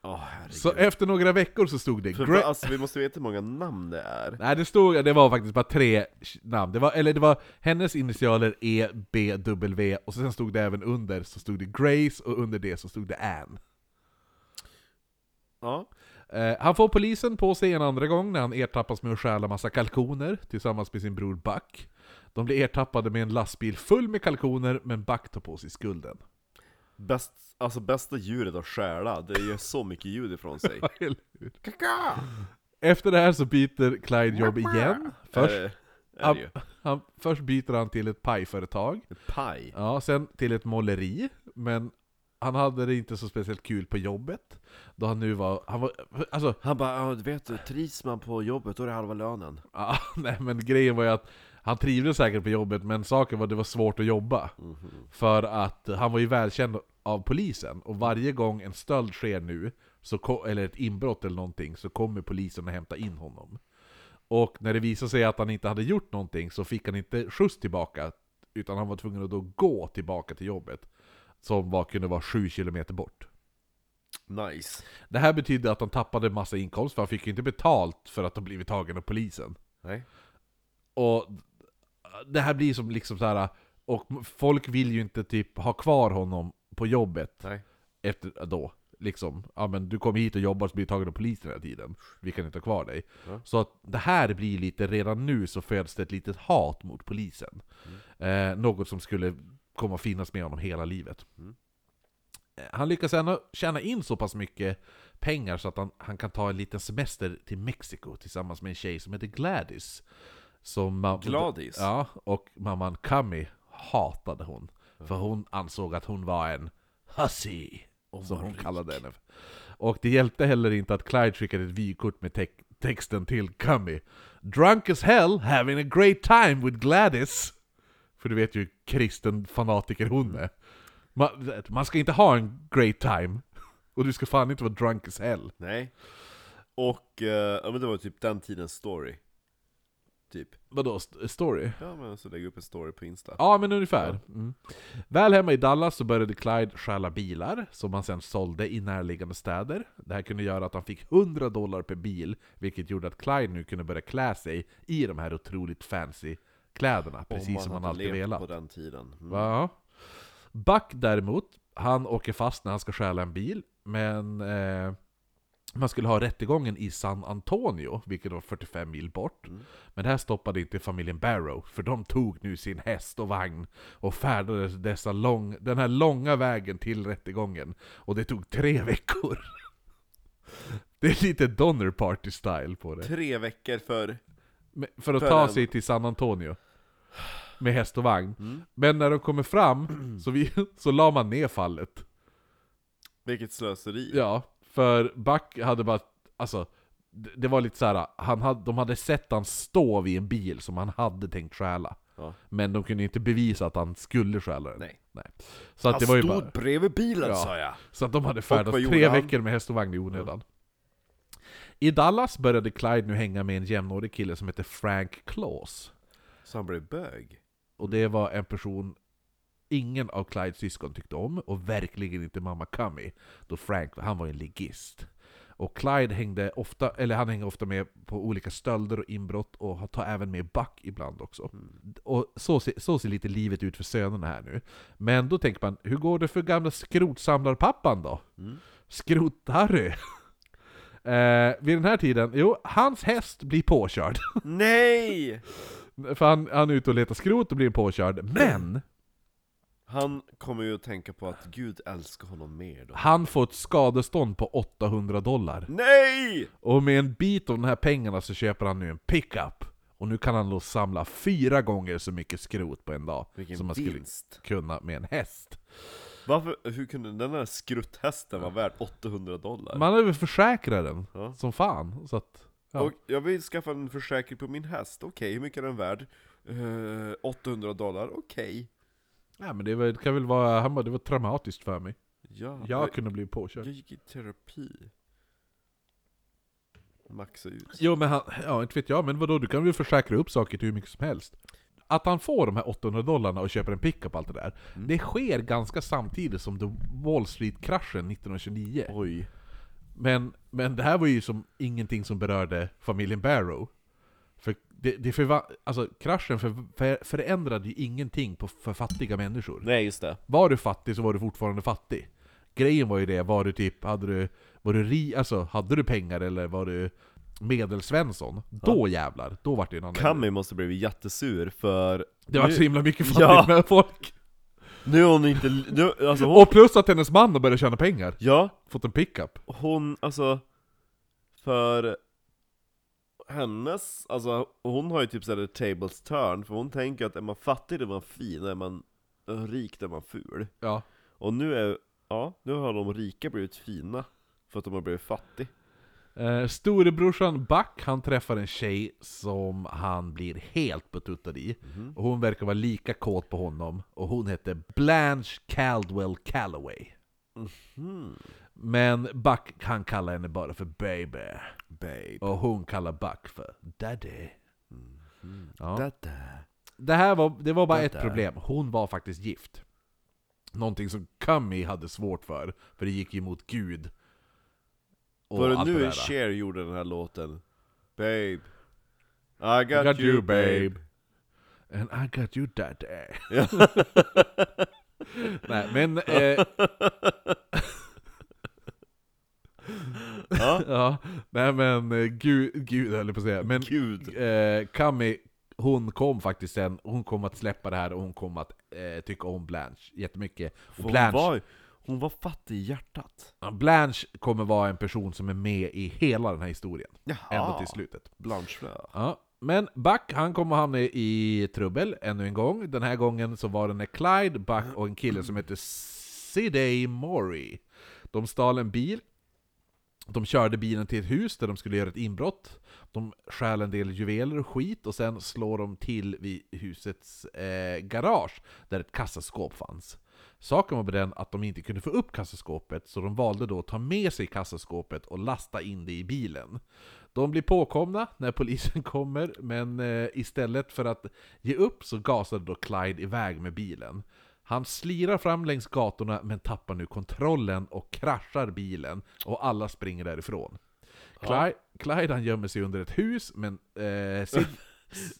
Åh herregud. Så efter några veckor så stod det För, Gra- för, alltså, vi måste veta hur många namn det är. Nej det stod, det var faktiskt bara tre namn. Det var, eller det var hennes initialer E, B, W och sen stod det även under så stod det Grace och under det så stod det Ann. Ja. Eh, han får polisen på sig en andra gång när han ertappas med att stjäla massa kalkoner tillsammans med sin bror Buck. De blir ertappade med en lastbil full med kalkoner men Buck tar på sig skulden. Bäst, alltså bästa djuret att stjäla, det gör så mycket ljud ifrån sig. Eller hur? Efter det här så byter Clyde jobb igen. Först, Eh, Är det, är han, det ju. han, först byter han till ett pajföretag. Paj. Ja, sen till ett måleri, men han hade det inte så speciellt kul på jobbet. Då han nu var, han var, alltså, Han bara, ja, du vet du, trivs man på jobbet då är det halva lönen. ah, nej men grejen var ju att han trivdes säkert på jobbet, men saken var att det var svårt att jobba. För att han var ju välkänd av polisen, och varje gång en stöld sker nu, så ko- eller ett inbrott eller någonting, så kommer polisen att hämta in honom. Och när det visade sig att han inte hade gjort någonting så fick han inte skjuts tillbaka, utan han var tvungen att då gå tillbaka till jobbet. Som var, kunde vara 7 kilometer bort. Nice. Det här betydde att de tappade massa inkomst för han fick ju inte betalt för att de blivit tagen av polisen. Nej. Och det här blir som liksom så här och folk vill ju inte typ ha kvar honom på jobbet Nej. efter då. Liksom, ja men du kommer hit och jobbar så blir du tagen av polisen hela tiden. Vi kan inte ha kvar dig. Ja. Så att det här blir lite, redan nu så föds det ett litet hat mot polisen. Mm. Eh, något som skulle komma att finnas med honom hela livet. Mm. Eh, Han lyckas ändå tjäna in så pass mycket pengar så att han, han kan ta en liten semester till Mexiko tillsammans med en tjej som heter Gladys. Som ma- Gladys? Ja, och mamman Kami hatade hon. För hon ansåg att hon var en hussy, som hon kallade henne. Och det hjälpte heller inte att Clyde skickade ett vykort med te- texten till Kami. Drunk as hell, having a great time with Gladys. För du vet ju hur kristen fanatiker hon är. Man, man ska inte ha en great time. Och du ska fan inte vara drunk as hell. Nej. Och, eh, ja men det var typ den tidens story. Typ. Vadå, st- story? Ja men så lägger jag upp en story på Insta. Ja, men ungefär. Mm. Väl hemma i Dallas så började Clyde stjäla bilar som han sen sålde i närliggande städer. Det här kunde göra att han fick 100 dollar per bil, vilket gjorde att Clyde nu kunde börja klä sig i de här otroligt fancy kläderna, Om precis som han hade alltid levt velat. på den tiden. Mm. Va? Buck däremot, han åker fast när han ska stjäla en bil, men eh, man skulle ha rättegången i San Antonio, vilket var 45 mil bort. Men det här stoppade inte familjen Barrow, för de tog nu sin häst och vagn och färdades dessa lång, den här långa vägen till rättegången. Och det tog tre veckor. Det är lite Donner Party style på det. Tre veckor för... Men- För att För ta en- sig till San Antonio. Med häst och vagn. Mm. Men när de kommer fram så, vi, så la man ner fallet. Vilket slöseri. Ja, för Buck hade bara... Alltså, det det var lite så här. Han hade, de hade sett han stå vid en bil som han hade tänkt stjäla. Ja. Men de kunde inte bevisa att han skulle stjäla den. Nej. Så att Han det var ju stod bara... bredvid bilen Ja. sa jag. Så att de hade Och färdats vad gjorde tre han? veckor med häst och vagn i onödan. I Dallas började Clyde nu hänga med en jämnårig kille som heter Frank Claus. Så han blev bög. Och det var en person ingen av Clydes syskon tyckte om, och verkligen inte mamma Cummy. Då Frank, han var ju en ligist. Och Clyde hängde ofta, eller han hängde ofta med på olika stölder och inbrott, och tar även med Buck ibland också. Och så, ser- så ser lite livet ut för sönerna här nu. Men då tänker man, hur går det för gamla skrotsamlarpappan då? Skrot-Harry! eh, vid den här tiden, jo, hans häst blir påkörd. Nej! För han, han är ute och letar skrot och blir påkörd, men Han kommer ju att tänka på att Gud älskar honom mer då. han får ett skadestånd på 800 dollar. Nej! Och med en bit av de här pengarna så köper han nu en pickup. Och nu kan han då samla fyra gånger så mycket skrot på en dag Vilken som man vinst. skulle kunna med en häst. Varför, hur kunde den där skrutthästen vara värd 800 dollar? Man överförsäkrar den Ja. som fan. Så att, ja. Och jag vill skaffa en försäkring på min häst, okej, hur mycket är den värd? Eh, 800 dollar, okej. Nej, men det, var, det kan väl vara, han bara, det var traumatiskt för mig. Ja, Jag jag, kunde bli påkörd. jag gick i terapi. Maxa ut. Jo men han, ja inte vet jag, men vadå du kan väl försäkra upp saker till hur mycket som helst? Att han får de här 800 dollarna och köper en pickup och allt det där, det sker ganska samtidigt som The Wall Street-kraschen 1929. Oj. Men, men det här var ju som ingenting som berörde familjen Barrow. För det, det förva- alltså, kraschen för, för, förändrade ju ingenting på, för fattiga människor. Nej, just det. Var du fattig så var du fortfarande fattig. Grejen var ju det, var du typ, hade du, var du ri, alltså hade du pengar eller var du medelsvensson, då jävlar, då vart det en annan Kami måste blivit jättesur för... Det var nu, så himla mycket fattigt Ja. med folk. nu är hon inte... Nu, alltså hon, Och plus att hennes man har börjat tjäna pengar, ja, fått en pickup. hon, alltså... För... Hennes, alltså hon har ju typ såhär tables turn, för hon tänker att är man fattig då är man fin, och är man rik då är man ful. Ja. Och nu är, ja, nu har de rika blivit fina för att de har blivit fattig. Eh, storebrorsan Buck, han träffar en tjej som han blir helt betuttad i. Och hon verkar vara lika kåt på honom, och hon heter Blanche Caldwell Calloway. hmm. Men Buck, han kallar henne bara för baby. Babe. Och hon kallar Buck för daddy. Ja. Dada. Det här var, det var bara ett Dadda. problem, hon var faktiskt gift. Någonting som Kami hade svårt för, för det gick ju emot Gud. Och Var det allt nu där. Cher gjorde den här låten? Babe I got, I got you babe. And I got you daddy. Nej men... Eh, Ja. ja, nej men eh, gud, gud höll jag på att säga. Men Gud. eh, Kami, hon kom faktiskt sen, hon kom att släppa det här och hon kom att eh, tycka om Blanche jättemycket. Och För Hon Blanche, var, hon var fattig i hjärtat. ja, Blanche kommer vara en person som är med i hela den här historien. Ända till slutet. Blanche. Ja. Men Buck, han kommer hamna i trubbel ännu en gång. Den här gången så var det när Clyde, Buck och en kille som heter Sidney Mori. De stal en bil. De körde bilen till ett hus där de skulle göra ett inbrott. De stjäl en del juveler och skit och sen slår de till vid husets eh, garage där ett kassaskåp fanns. Saken var med den att de inte kunde få upp kassaskåpet så de valde då att ta med sig kassaskåpet och lasta in det i bilen. De blir påkomna när polisen kommer, men eh, istället för att ge upp så gasade då Clyde iväg med bilen. Han slirar fram längs gatorna men tappar nu kontrollen och kraschar bilen och alla springer därifrån. Clyde, Clyde han gömmer sig under ett hus, men eh, Sid,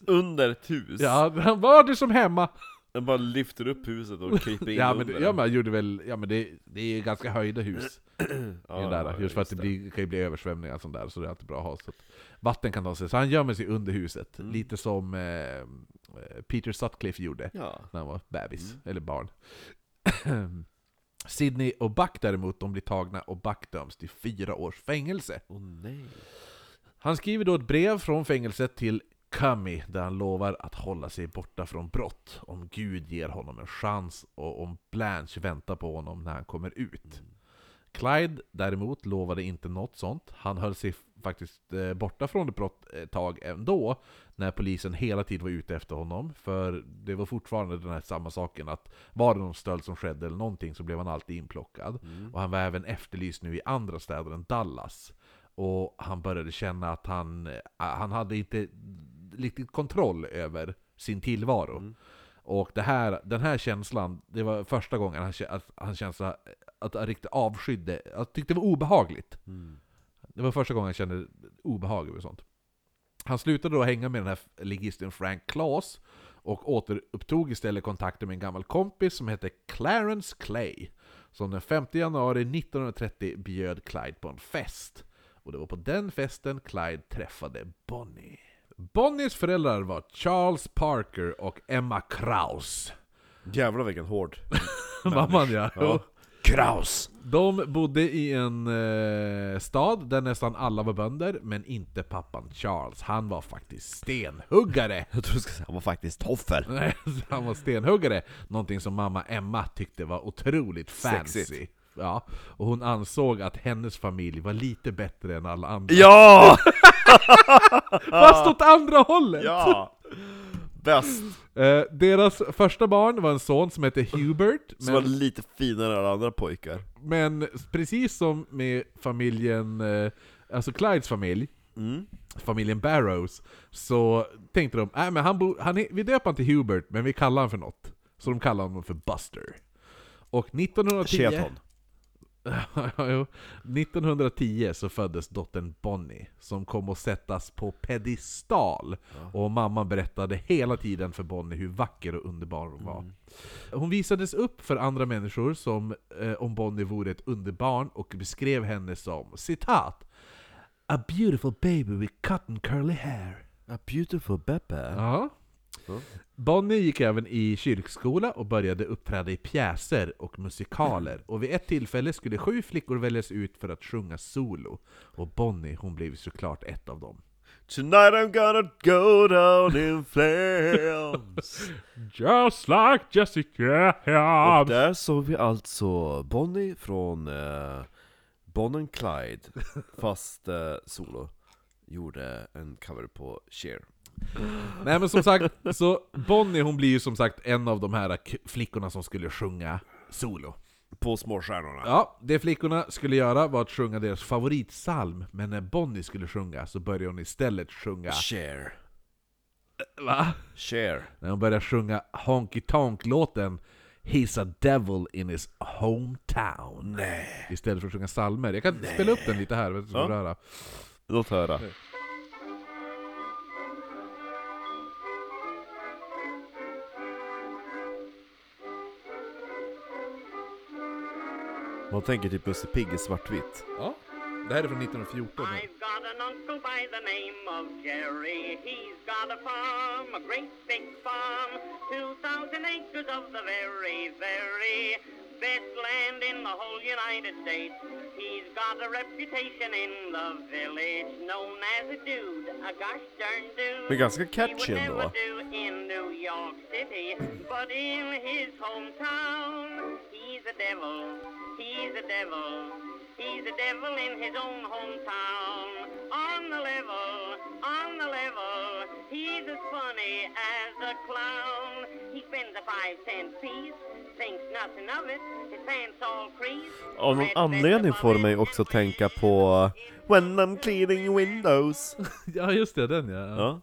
Under ett hus. ja, han var du som hemma! Den bara lyfter upp huset och kryper in Ja men, under. ja, men han gjorde väl, ja men det, det är ju ganska höjda hus. Ja, den där, ja, just för att det, blir, kan ju bli översvämningar och sånt där, så det är alltid bra att ha. Så att vatten kan ta sig, så han gömmer sig under huset. Lite som eh, eh, Peter Sutcliffe gjorde Ja. när han var bebis, eller barn. Sydney och Buck däremot, de blir tagna och Buck döms till fyra års fängelse. Åh nej. Han skriver då ett brev från fängelset till Kami där han lovar att hålla sig borta från brott om Gud ger honom en chans och om Blanche väntar på honom när han kommer ut. Clyde däremot lovade inte något sånt. Han höll sig faktiskt eh, borta från ett brott ett tag ändå när polisen hela tiden var ute efter honom. För det var fortfarande den här samma saken att var det någon stöld som skedde eller någonting så blev han alltid inplockad. Mm. Och han var även efterlyst nu i andra städer än Dallas. Och han började känna att han, eh, han hade inte riktigt kontroll över sin tillvaro. Mm. Och det här, den här känslan, det var första gången han, kä- att han kände så- att han riktigt avskydde, att tyckte det var obehagligt. Mm. Det var första gången han kände obehag över sånt. Han slutade då hänga med den här ligisten Frank Claes och återupptog istället kontakten med en gammal kompis som hette Clarence Clay. Som den 5 januari 1930 bjöd Clyde på en fest. Och det var på den festen Clyde träffade Bonnie. Bonnies föräldrar var Charles Parker och Emma Kraus. Jävlar vilken hård. Mamman ja. Ja. Kraus! De bodde i en eh, stad där nästan alla var bönder, men inte pappan Charles. Han var faktiskt stenhuggare. Jag tror du ska säga han var faktiskt toffel. Nej, han var stenhuggare. Någonting som mamma Emma tyckte var otroligt fancy. Sexigt. Ja, och hon ansåg att hennes familj var lite bättre än alla andra. Ja! Fast åt andra hållet! Ja! Bäst! Eh, deras första barn var en son som hette Hubert, Som var lite finare än alla andra pojkar. Men precis som med familjen, eh, alltså Clydes familj, Mm. familjen Barrows, så tänkte de äh, men han bo, han är, vi döper han till Hubert, men vi kallar honom för något. Så de kallar honom för Buster. Och 1910... Cheton. Ja, jo. 1910 så föddes dottern Bonnie, som kom att sättas på pedestal. Och mamman berättade hela tiden för Bonnie hur vacker och underbar hon var. Hon visades upp för andra människor som eh, om Bonnie vore ett underbarn och beskrev henne som citat A beautiful baby with cotton curly hair. A beautiful Beppe. Ja. Bonnie gick även i kyrkskola och började uppträda i pjäser och musikaler. Och vid ett tillfälle skulle sju flickor väljas ut för att sjunga solo. Och Bonnie, hon blev såklart ett av dem. Tonight I'm gonna go down in flames. Just like Jessica Och där såg vi alltså Bonnie från eh, Bonnie and Clyde, fast eh, solo. Gjorde en cover på Cher. Nej men som sagt, så Bonnie hon blir ju som sagt en av de här k- flickorna som skulle sjunga solo. På Småstjärnorna. Ja, det flickorna skulle göra var att sjunga deras favoritsalm, men när Bonnie skulle sjunga så började hon istället sjunga... Cher. Va? Cher. När hon började sjunga Honky Tonk-låten He's a devil in his hometown. Istället för att sjunga salmer. Jag kan spela upp den lite här, så får du Ja. höra. Låt höra. Man tänker typ Musse Pigg i svartvitt. Ja. Det här är från 1914. I've got an uncle by the name of Jerry. He's got a farm, a great big farm, 2,000 acres of the very, very best land in the whole United States. He's got a reputation in the village, known as a dude, a gosh darn dude. Men ganska catchy He would ändå. never do in New York City, but in his hometown, he's a devil. He's a devil. He's a devil in his own hometown. On the level, on the level, he's as funny as a clown. He spends a five cent piece, thinks nothing of it, his pants all creased. Av någon anledning får mig också att tänka på When I'm cleaning windows. Ja, just det. Den ja. Ja.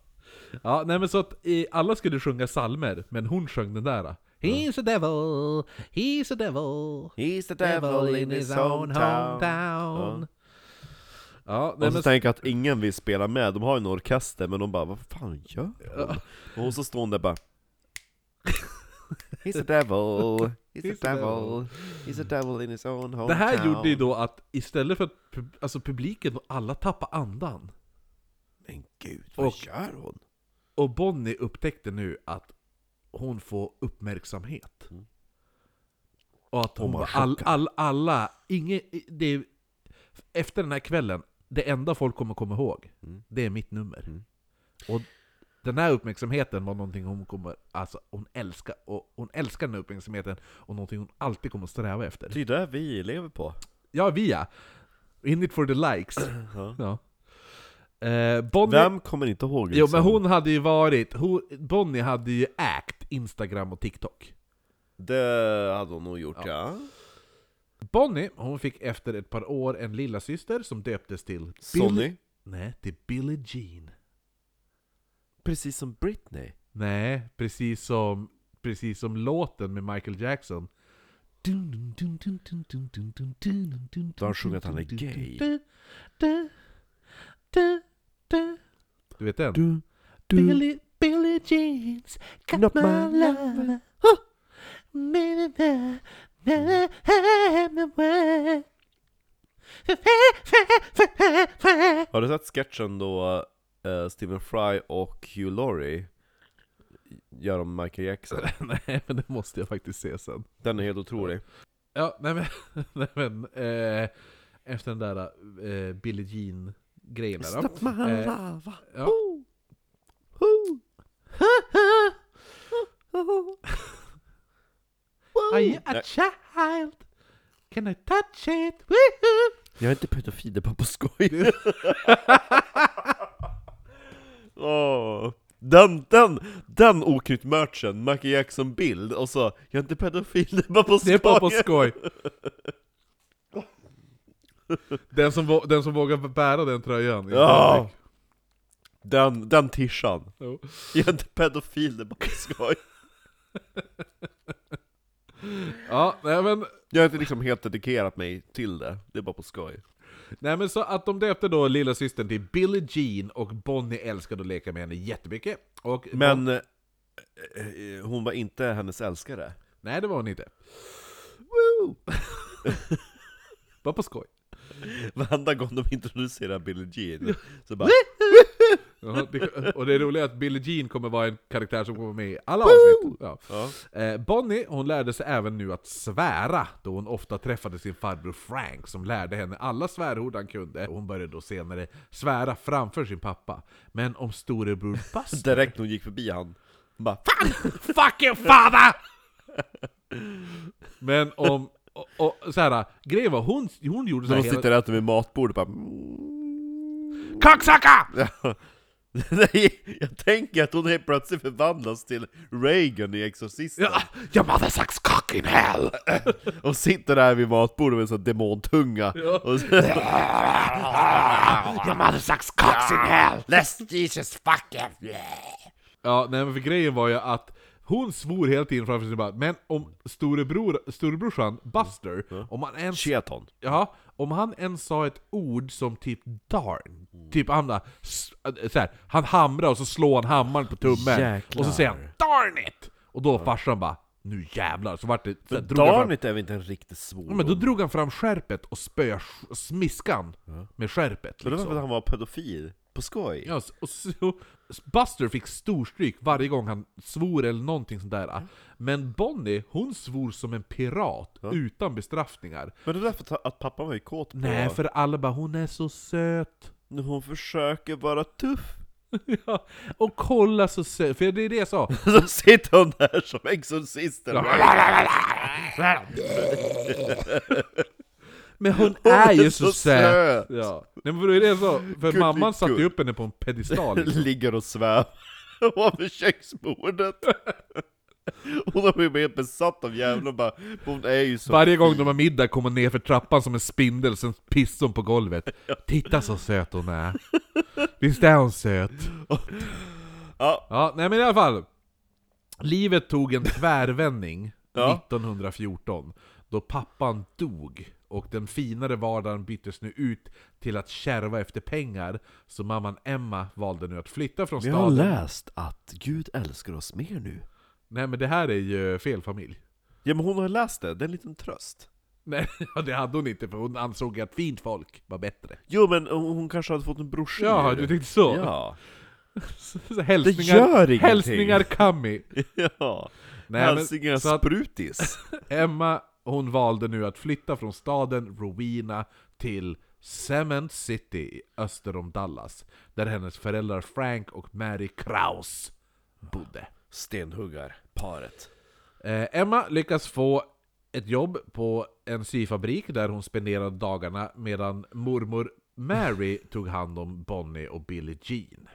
Ja, nej men så att eh, alla skulle sjunga salmer, men hon sjöng den där. He's a devil, he's a devil, He's the devil in his own hometown. Ja, nej Och så men... tänker jag att ingen vill spela med, de har ju en orkester men de bara Vad fan gör hon? Och så står hon där bara He's a devil, he's a devil, he's a devil in his own hometown Det här gjorde ju då att istället för att pub- alltså publiken och alla tappade andan, Men gud, vad Och- gör hon? och Bonnie upptäckte nu att hon får uppmärksamhet. Och att hon man bara, all, chockar. all, alla, ingen, det, är- efter den här kvällen, det enda folk kommer komma ihåg, det är mitt nummer. Och den här uppmärksamheten var någonting hon kommer, alltså hon älskar, och hon älskar den här uppmärksamheten, och någonting hon alltid kommer att sträva efter. Det är det vi lever på Ja, via! In it for the likes. ja. Eh, Bonnie, Vem kommer inte ihåg liksom? Jo men hon hade ju varit, hon, Bonnie hade ju ägt Instagram och TikTok. Det hade hon nog gjort ja, Bonnie, hon fick efter ett par år en lilla syster som döptes till Billie- Sonny Nej, till Billie Jean. Precis som Britney Nej, precis som, precis som låten med Michael Jackson. Då han sjunger att han är gay. Du vet den? Du, Billy, Billy Jeans got Not my, my love. Me, na, na, na, I'm the one. Har du sett sketchen då eh, Stephen Fry och Hugh Laurie gör om Michael Jackson? Nej, men det måste jag faktiskt se sen. Den är helt otrolig Ja, nej men, nej, men eh, efter den där eh, Billie Jean-grejen där. då. Eh, ja. Are you a Nej. child? Can I touch it? Woohoo! Jag är inte pedofil, det är bara på skoj. Åh. Den, den, den oknytt-merchen, Michael Jackson-bild, och så Jag är inte pedofil, det är bara på skoj. Det är bara på skoj. Den som, vå- den som vågar bära den tröjan. Ja. Den, den tishan. Jo. Jag är inte pedofil, det är bara på skoj. Ja, nej men, Jag har inte liksom helt dedikerat mig till det, det är bara på skoj. nej men så att de döpte då lilla systern till Billie Jean och Bonnie älskade att leka med henne jättemycket. Och Men eh, eh, hon var inte hennes älskare. nej, det var hon inte. Bara på skoj. Varenda gång de introducerar Billie Jean, så bara Ja, det- Och det roliga är att Billie Jean kommer vara en karaktär som kommer vara med i alla avsnitt. Ja. Eh, Bonnie, hon lärde sig även nu att svära, då hon ofta träffade sin farbror Frank som lärde henne alla svärord han kunde. Och hon började då senare svära framför sin pappa. Men om storebror Buster... direkt när hon gick förbi han, hon bara Fuck your father! Men om... Och, och, så här, grejen var, hon, hon gjorde så Så här de hela- sitter och äter vid matbordet och bara Kacksacka! "Mm." Nej, jag tänker att hon helt plötsligt förvandlas till Reagan i Exorcisten Ja, your mother sucks cock in hell! Och sitter där vid matbordet med en sån här demontunga och så, Your mother sucks cocks in hell! Let's Jesus fuck him. Ja, nej men för grejen var ju att Hon svor hela tiden framför sig bara, men om storebror, storebrorsan Mm. Buster, om han ens Cheton. Ja, om han ens sa ett ord som typ darn, Mm. typ han bara, s- äh, så här, han hamrar och så slår han hammaren på tummen, Jäklar. och så säger han 'darn it' Och då farsan bara 'nu jävlar' så vart det... Så här, drog han fram, Darnit är väl inte en riktig svordom? ja, men då drog han fram skärpet och spöade smiskan med skärpet Men det var för liksom. att han var pedofil? På skoj? Ja, s- och så, Buster fick storstryk varje gång han svor eller någonting sånt där. Men Bonnie, hon svor som en pirat utan bestraffningar. Men det är därför att- att pappan var ju kåt på Nej, för alla bara 'hon är så söt' Nu Hon försöker vara tuff Ja, och kolla så söt, för det är det jag sa. Så sitter hon där som exorcisten Men hon Hon är är ju så, så söt! söt. Ja. Nej, men det är det jag sa, för Gullig mamman satte ju gull. upp henne på en pedestal. Liksom. Ligger och svävar Ovanför köksbordet Hon har blivit helt besatt av djävulen och bara Hon är ju så Varje gång de har middag kommer hon ner för trappan som en spindel, sen pissar hon på golvet. Titta så söt hon är! Visst är hon söt? Ja. ja, nej men i alla fall. Livet tog en tvärvändning Ja. 1914, då pappan dog och den finare vardagen byttes nu ut till att kärva efter pengar, så mamman Emma valde nu att flytta från Vi har staden. läst att Gud älskar oss mer nu Nej men det här är ju fel familj. Ja men hon har läst det, det är en liten tröst Nej, ja, det hade hon inte för hon ansåg att fint folk var bättre. Jo men hon hon kanske hade fått en brorsa Ja, nu. du tänkte så? Ja, Så hälsningar, gör ingenting. hälsningar Kami! ja. Nej, Hälsingar men, så att sprutis Emma, hon valde nu att flytta från staden Rowena till Cement City i öster om Dallas, där hennes föräldrar Frank och Mary Kraus bodde. Stenhuggarparet Eh, Emma lyckas få ett jobb på en syfabrik där hon spenderade dagarna medan mormor Mary tog hand om Bonnie och Billie Jean.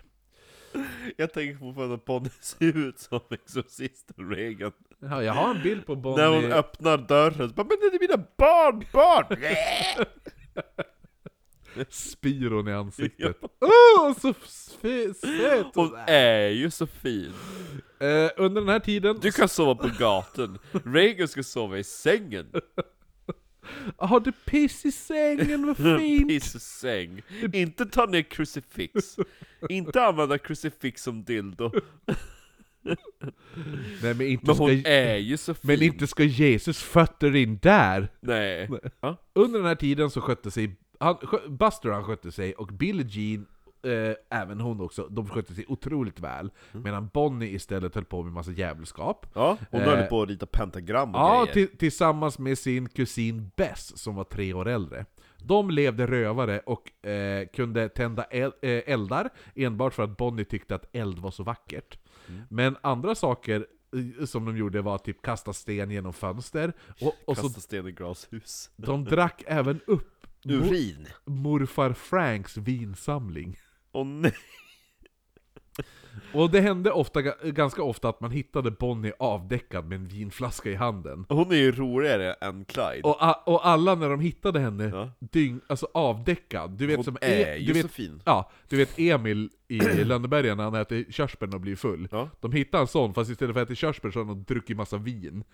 Jag tänker fortfarande att Bonnie ser ut som Exorcisten Reagan Ja, jag har en bild på När hon Bonnie. öppnar dörren så bara 'Men det är mina barnbarn!' Spyr hon i ansiktet. Åh, så f- söt Hon är ju så fin! Eh, under den här tiden... Du kan sova på gatan, Reagan ska sova i sängen! Har du piss i sängen, vad fint! Piss-säng! Inte ta ner crucifix! Inte använda crucifix som dildo! Nej men inte, Men ska, hon är ju så fin! men inte ska Jesus fötter in där! Nej! Ja. Under den här tiden så skötte sig han, skö- Buster han skötte sig, och Billie Jean, eh, även hon också, de skötte sig otroligt väl. Mm. Medan Bonnie istället höll på med massa djävulskap. Ja, typ. hon Eh, höll på att rita pentagram och Ja, grejer. ti- tillsammans med sin kusin Bess som var tre år äldre. De levde rövare och eh, kunde tända el- eh, eldar enbart för att Bonnie tyckte att eld var så vackert. Mm. Men andra saker eh, som de gjorde var typ kasta sten genom fönster, och, och så Kasta sten i glashus. de drack även upp mo- Urin! morfar Franks vinsamling. Åh nej! Och det hände ofta, ganska ofta att man hittade Bonnie avdäckad med en vinflaska i handen. Hon är ju roligare än Clyde. Och, a- och alla när de hittade henne, Ja. dyng, alltså avdäckad. Du vet Hon som E, är ju du vet, så fin. Ja, du vet Emil i Lönneberga när han äter körsbär och blir full. Ja. De hittar en sån, fast istället för att äta körsbär så har de druckit massa vin.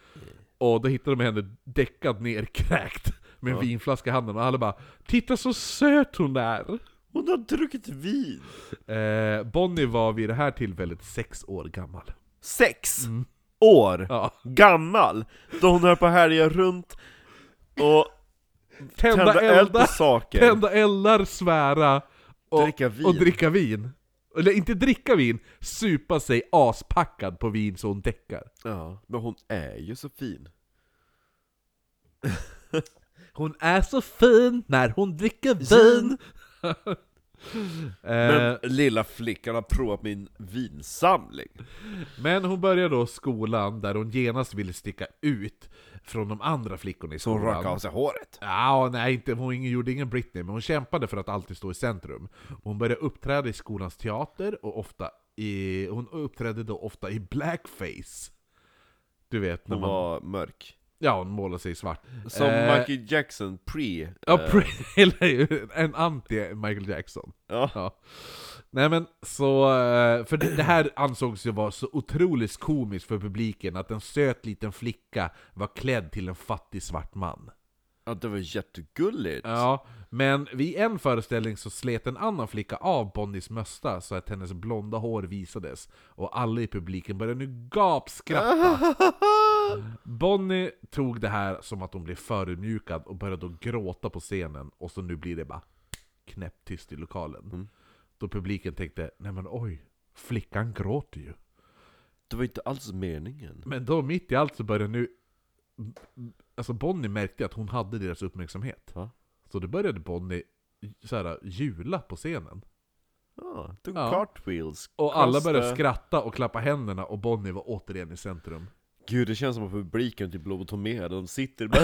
Och då hittar de henne däckad nerkräkt med en vinflaska i handen och alla bara 'Titta så söt hon är!' Hon har druckit vin! Eh, Bonnie var vid det här tillfället sex år gammal. Sex år Ja. gammal! Då hon höll på att härja runt och Tända, tända eld på eldar, saker. tända eldar, svära och Dricka vin. och dricka vin. Eller inte dricka vin, supa sig aspackad på vin så hon däckar. Ja, men hon är ju så fin. Hon är så fin när hon dricker Vin. Men Eh, men, lilla flickan har provat min vinsamling. men hon börjar då skolan där hon genast ville sticka ut från de andra flickorna i Så hon skolan. rakade av sig håret. Ja, nej, inte, hon ingen- gjorde ingen Britney, men hon kämpade för att alltid stå i centrum. Hon började uppträda i skolans teater, och ofta i, hon uppträdde då ofta i blackface. Du vet, när Hon man... var mörk. Ja, hon målar sig i svart. Som Eh, Michael Jackson pre... Ja, eh, pre- eller hur? en anti-Michael Jackson. Ja. Nej men så, eh, för det det här ansågs ju vara så otroligt komiskt för publiken att en söt liten flicka var klädd till en fattig svart man. ja, det var jättegulligt! Ja, men vid en föreställning så slet en annan flicka av Bonnies mössa så att hennes blonda hår visades och alla i publiken började nu gapskratta. Bonnie tog det här som att hon blev förödmjukad och började då gråta på scenen och så nu blir det bara knäpptyst i lokalen. Då publiken tänkte, nej men oj, flickan gråter ju. Det var inte alls meningen. Men då mitt i allt så började nu... Alltså Bonnie märkte att hon hade deras uppmärksamhet. Ja. Så då började Bonnie så här, jula på scenen. Ja, tog Ja. cartwheels. Och alla Konst- började skratta och klappa händerna och Bonnie var återigen i centrum. Gud, det känns som att publiken typ lobotomerade, de sitter bara...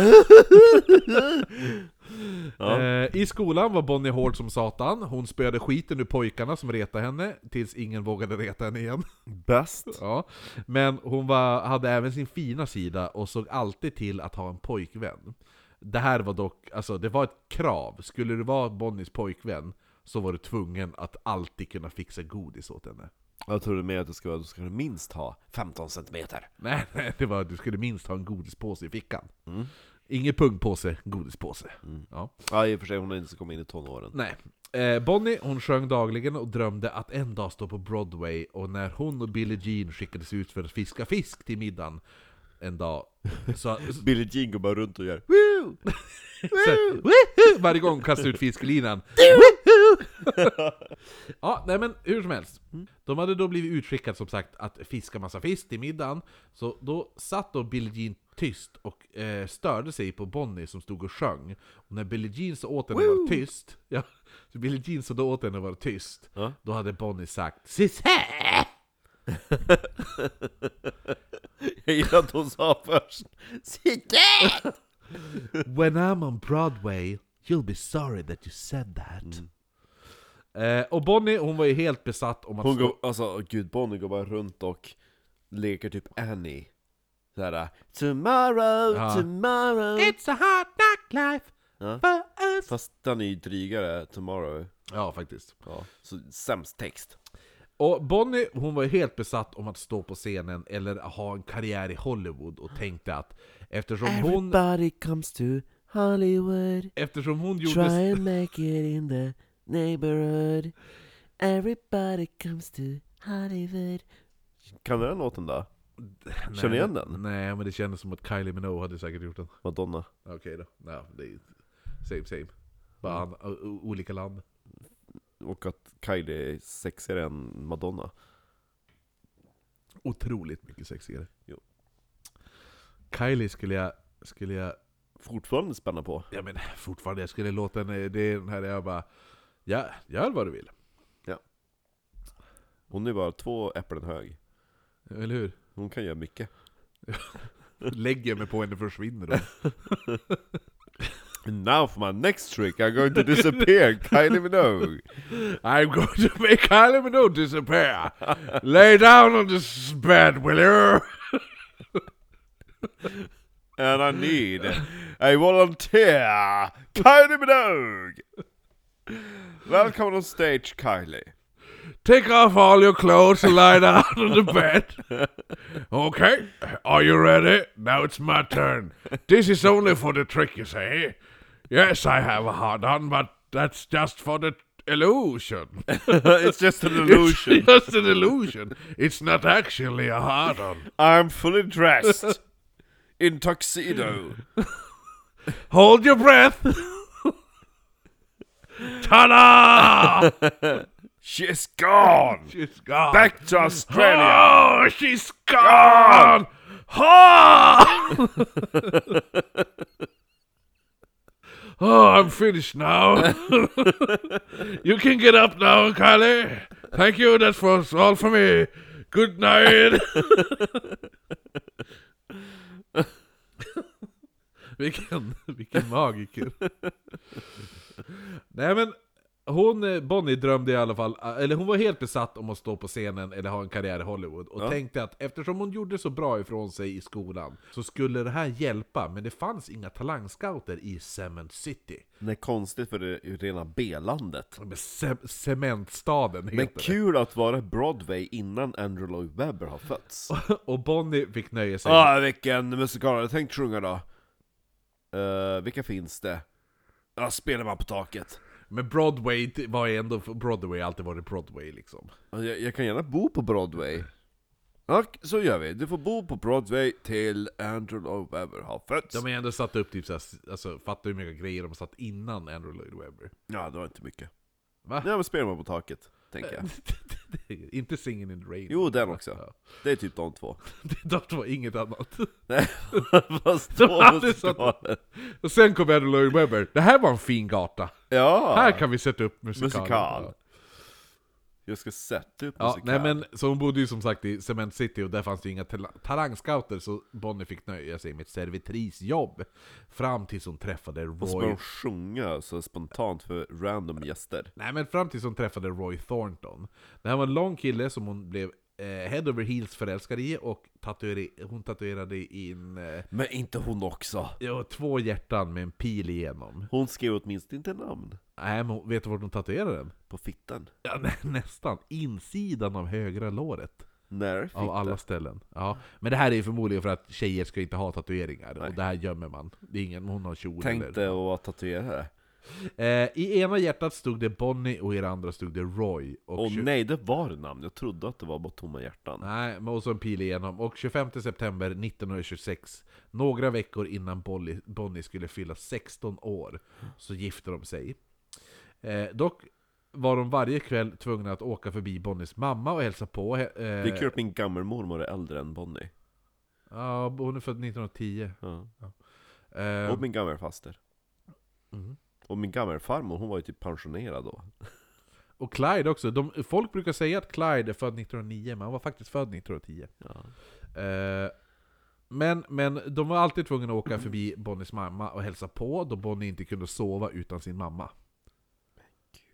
Ja. Eh, I skolan var Bonnie hård som satan. Hon spöade skiten ur pojkarna som retade henne, tills ingen vågade reta henne igen. Bäst! Ja. Men hon var, hade även sin fina sida och såg alltid till att ha en pojkvän. Det här var dock, alltså det var ett krav. Skulle du vara Bonnies pojkvän så var du tvungen att alltid kunna fixa godis åt henne. Jag trodde mer att det skulle vara, du skulle minst ha 15 centimeter. Nej, nej, det var att du skulle minst ha en godispåse i fickan. Ingen pungpåse, godispåse. Ja. Ja, i och för sig, hon har inte kommit in i tonåren. Nej. Eh, Bonnie hon sjöng dagligen och drömde att en dag stå på Broadway och när hon och Billie Jean skickades ut för att fiska fisk till middagen en dag så, Billie Jean går bara runt och gör Så, woohoo! Varje gång kastar ut fiskelinan. Woohoo! ja, nej men hur som helst. De hade då blivit utskickade som sagt att fiska massa fisk till middagen. Så då satt då Billie Jean tyst och eh, störde sig på Bonnie som stod och sjöng. Och när Billie Jean så åt henne att vara tyst, ja, så Billie Jean så då åt henne att vara tyst, Ja. då hade Bonnie sagt "Sis här!" Jag gillar att hon sa först Sitt där! When I'm on Broadway, you'll be sorry that you said that. Eh, och Bonnie hon var ju helt besatt om att Mm. Hon stå- går, alltså gud Bonnie går bara runt och leker typ Annie Såhär Tomorrow, Ja. tomorrow It's a hard knock life Ja. for us Fast den är ju drygare, tomorrow Ja, faktiskt. ja. Så sämst text Och Bonnie, hon var ju helt besatt om att stå på scenen eller ha en karriär i Hollywood och tänkte att eftersom hon, Everybody comes to Hollywood, eftersom hon try gjorde... and make it in the neighborhood. Everybody comes to Hollywood. Kan du den låten då? Nej, Känner igen den? Nej, men det kändes som att Kylie Minogue hade säkert gjort den. Madonna Okej då. Ja, det är same same. Bara an- o- o- olika land. Och att Kylie är sexigare än Madonna Otroligt mycket sexigare. Jo. Kylie skulle jag... Skulle jag Fortfarande spänna på Ja men fortfarande, jag skulle låta henne, det är den här jag bara... Ja, gör vad du vill. Hon är bara två äpplen hög Eller hur? Hon kan göra mycket Lägger mig på henne och försvinner då. And now for my next trick I'm going to disappear Kylie Minogue I'm going to make Kylie Minogue disappear! Lay down on this bed, will you? And I need a volunteer, Kylie Minogue! Välkommen on stage Kylie. Take off all your clothes and lie down on the bed. Okay, are you ready? Now it's my turn. This is only for the trick, you say? Yes, I have a hard on, but that's just for the illusion. It's just an illusion. It's just an illusion. It's not actually a hard on. I'm fully dressed. In tuxedo. Hold your breath. Ta-da! She's gone! She's gone. Back to Australia! Oh, she's gone. Ha! oh, I'm finished now. you can get up now, Kylie. Thank you. That was all for me. Good night. vilken, vilken magiker. Nej men, Hon, eh, Bonnie drömde i alla fall, eh, eller hon var helt besatt om att stå på scenen eller ha en karriär i Hollywood och tänkte att eftersom hon gjorde så bra ifrån sig i skolan så skulle det här hjälpa, men det fanns inga talangscouter i Cement City. Nej, konstigt för det är ju rena B-landet. Men ce- cementstaden heter Men det. kul att vara Broadway innan Andrew Lloyd Webber har fötts. Och Bonnie fick nöja sig Ah, vilken musikal hade jag tänkt sjunga då? Eh, vilka finns det? Ja, spelar man på taket. Men Broadway det var ju ändå, Broadway har alltid varit Broadway liksom. Ja, Alltså, Jag, jag kan gärna bo på Broadway. Ja, så gör vi. Du får bo på Broadway till Andrew Lloyd Webber har fötts. De har ju ändå satt upp typ såhär, alltså fattar hur många grejer de satt innan Andrew Lloyd Webber. Ja, det var inte mycket. Va? Nej, men spelar man på taket, tänker jag. Inte Singin' in the Rain. Jo, den också. Ja. Det är typ de två. De två, inget annat. Nej, vad står hade det? satt- står det? Och sen kom Andrew Lloyd Webber. Det här var en fin gata. Ja! Här kan vi sätta upp musikal. Musikal. Jag ska sätta upp Ja, musikal. nej men, så hon bodde ju som sagt i Cement City och där fanns det ju inga tal- talangscouter så Bonnie fick nöja sig med ett servitrisjobb. Fram tills hon träffade Och så börjar Roy... de sjunga så spontant för random gäster. Nej men fram tills hon träffade Roy Thornton. Det här var en lång kille som hon blev eh, head over heels förälskad i och tatuer- hon tatuerade in eh, Men inte hon också! ja, två hjärtan med en pil igenom. Hon skrev åtminstone inte namn Nej men hon- vet du vart hon tatuerade den? på fittan. Ja, nä, nästan. Insidan av högra låret. När fitta? Av alla ställen. Ja. Men det här är ju förmodligen för att tjejer ska inte ha tatueringar, och det här gömmer man. Det är ingen, hon har kjol Tänkte eller... att vara tatuerare. Eh, I ena hjärtat stod det Bonnie och i det andra stod det Roy. Och Åh tju- nej, det var namn. Jag trodde att det var bara tomma hjärtan. Nej, men och så en pil igenom. Och 25 september 1926, några veckor innan Bolli- Bonnie skulle fylla 16 år, så gifte de sig. Eh, dock var de varje kväll tvungna att åka förbi Bonnies mamma och hälsa på. Eh, Det är kul att min gammelmormor är äldre än Bonnie. Ja, hon är född 1910. Ja. Eh, Och min gammelfaster. Mm. Och min gammelfarmor, hon var ju typ pensionerad då. och Clyde också. De, folk brukar säga att Clyde är född 1909, men han var faktiskt född 1910. Ja. Eh, men, men de var alltid tvungna att åka förbi Bonnies mamma och hälsa på då Bonnie inte kunde sova utan sin mamma.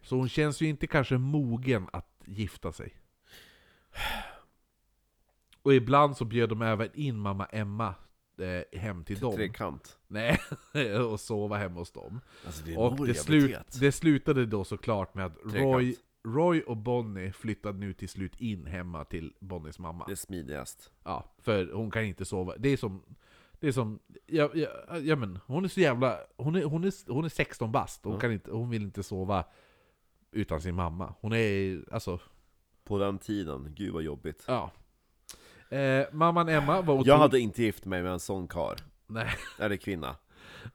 Så hon känns ju inte kanske mogen att gifta sig. Och ibland så bjöd de även in mamma Emma eh, hem till dem. Trekant. Nej, och sova hemma hos dem. Alltså det Och det, slu det slutade då såklart med att Roy, Trekant. Roy och Bonnie flyttade nu till slut in hemma till Bonnies mamma. Det är smidigast. Ja, för hon kan inte sova. Det är som... Det är som... Ja, ja, ja men hon är så jävla... Hon är, hon är, hon är 16 bast, hon, kan inte, hon vill inte sova utan sin mamma. Hon är... Alltså, På den tiden, gud vad jobbigt. ja. Eh, mamman Emma var otroligt... Jag hade inte gift mig med en sån kar. Nej. Eller kvinna.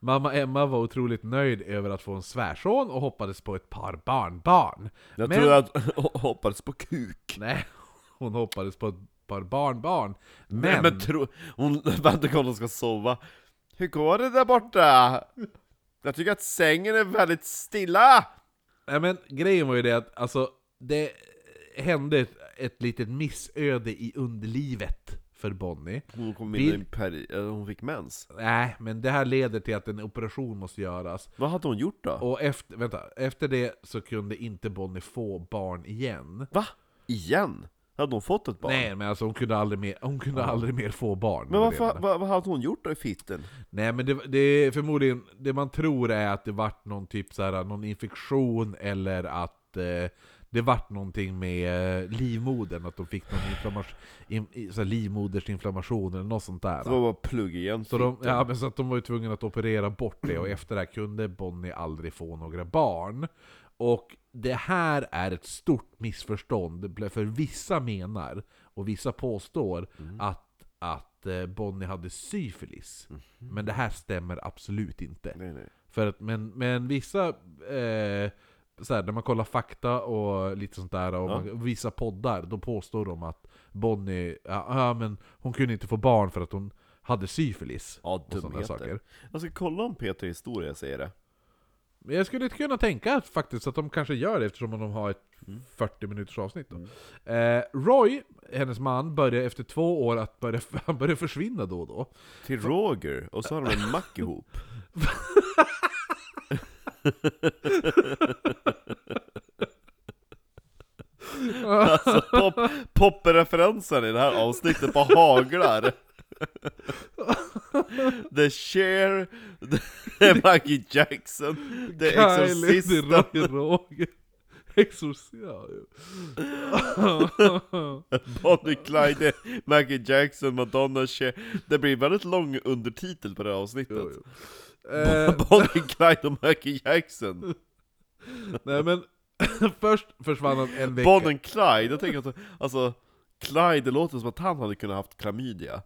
Mamma Emma var otroligt nöjd över att få en svärson och hoppades på ett par barnbarn. Jag Men- trodde att hoppades på kuk. Nej, hon hoppades på ett par barnbarn. Men... Men, men tro, hon väntar på att hon ska sova. Hur går det där borta? Jag tycker att sängen är väldigt stilla! Nej men grejen var ju det att alltså, det hände ett, ett litet missöde i underlivet för Bonnie. Hon kom in Vill- i en peri- eh, hon fick mens. Nej, men det här leder till att en operation måste göras. Vad hade hon gjort då? Och efter, vänta, efter det så kunde inte Bonnie få barn igen. Va? Igen? Hade hon fått ett barn? Nej men alltså hon kunde aldrig mer, hon kunde aldrig mer få barn. Det Men var vad, det fa- jag menade. vad, vad hade hon gjort då i fitten? Nej men det, det är förmodligen, det man tror är att det vart någon typ så här, någon infektion eller att eh, det vart någonting med eh, livmodern, att de fick någon inflammation, in, i- så här, livmodersinflammation eller något sånt där. Det var bara plugg igen. Så de, fitten. ja, men så att de var ju tvungna att operera bort det och efter det här kunde Bonnie aldrig få några barn. Och det här är ett stort missförstånd, för vissa menar och vissa påstår att, att eh, Bonnie hade syfilis. Men det här stämmer absolut inte. Nej, nej. För att, men, men vissa, eh, så här, när man kollar fakta och lite sånt där, och man, vissa poddar, då påstår de att Bonnie, ja, ja, men hon kunde inte få barn för att hon hade syfilis. Ja, och sådana dumheter. saker. Jag ska kolla om Peter Historia säger det. Men jag skulle inte kunna tänka att faktiskt att de kanske gör det eftersom de har ett 40 minuters avsnitt Mm. då. Eh, Roy, hennes man, började efter två år att börja, han började försvinna då och då. Till Roger, och så har de en mack ihop. Alltså pop, pop-referensen i det här avsnittet bara haglar. The Cher, det är Maggie Jackson, det är Exorcisten, Kylie Roger. Exorcisten. ja, ja. Bonnie Clyde, Maggie Jackson, Madonna, Cher. Det blir väldigt lång undertitel på det här avsnittet. Jo, jo. Eh, Bonnie Clyde och Maggie Jackson. nej men, först försvann han en vecka. Bonnie Clyde, jag tänker att, alltså, Clyde, det låter som att han hade kunnat haft klamydia.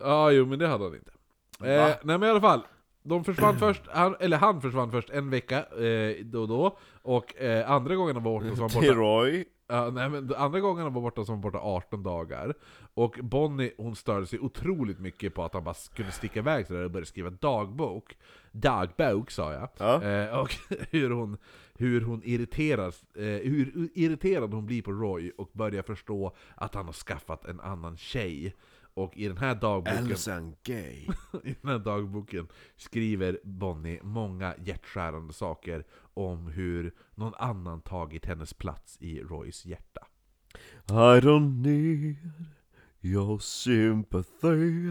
Ja, jo men det hade han inte. Va? Eh, nej men i alla fall. De försvann först, han, eller han försvann först en vecka eh, då och då, och eh, andra gången han var borta så var han borta T-Roy, Ja, nej, men de andra gången han var borta så var han borta 18 dagar. Och Bonnie hon störde sig otroligt mycket på att han bara kunde sticka iväg sådär och börja skriva dagbok. Dagbok sa jag. Ja. Eh, och hur hon, hur hon irriteras, eh, hur irriterad hon blir på Roy och börjar förstå att han har skaffat en annan tjej. Och i den här dagboken Elsan Gay. i den här dagboken skriver Bonnie många hjärtskärande saker om hur någon annan tagit hennes plats i Roys hjärta. I don't need your sympathy.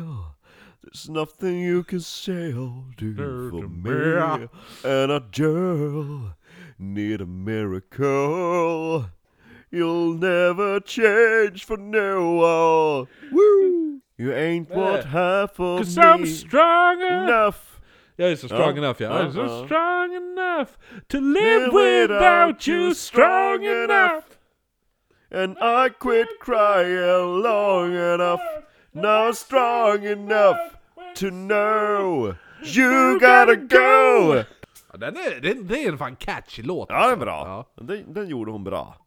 There's nothing you can say or do for me. And I do need a miracle. You'll never change for no one. Woo! You ain't what half of me stronger! enough. Jag är så strong Ja. enough, jag är Ja, så ja. strong enough to live without you strong enough! And I quit crying long enough. Now I'm strong enough to know you gotta go! Ja, den är, den, det är en fan catchy låt. Ja, den är alltså. bra. Den, den gjorde hon bra.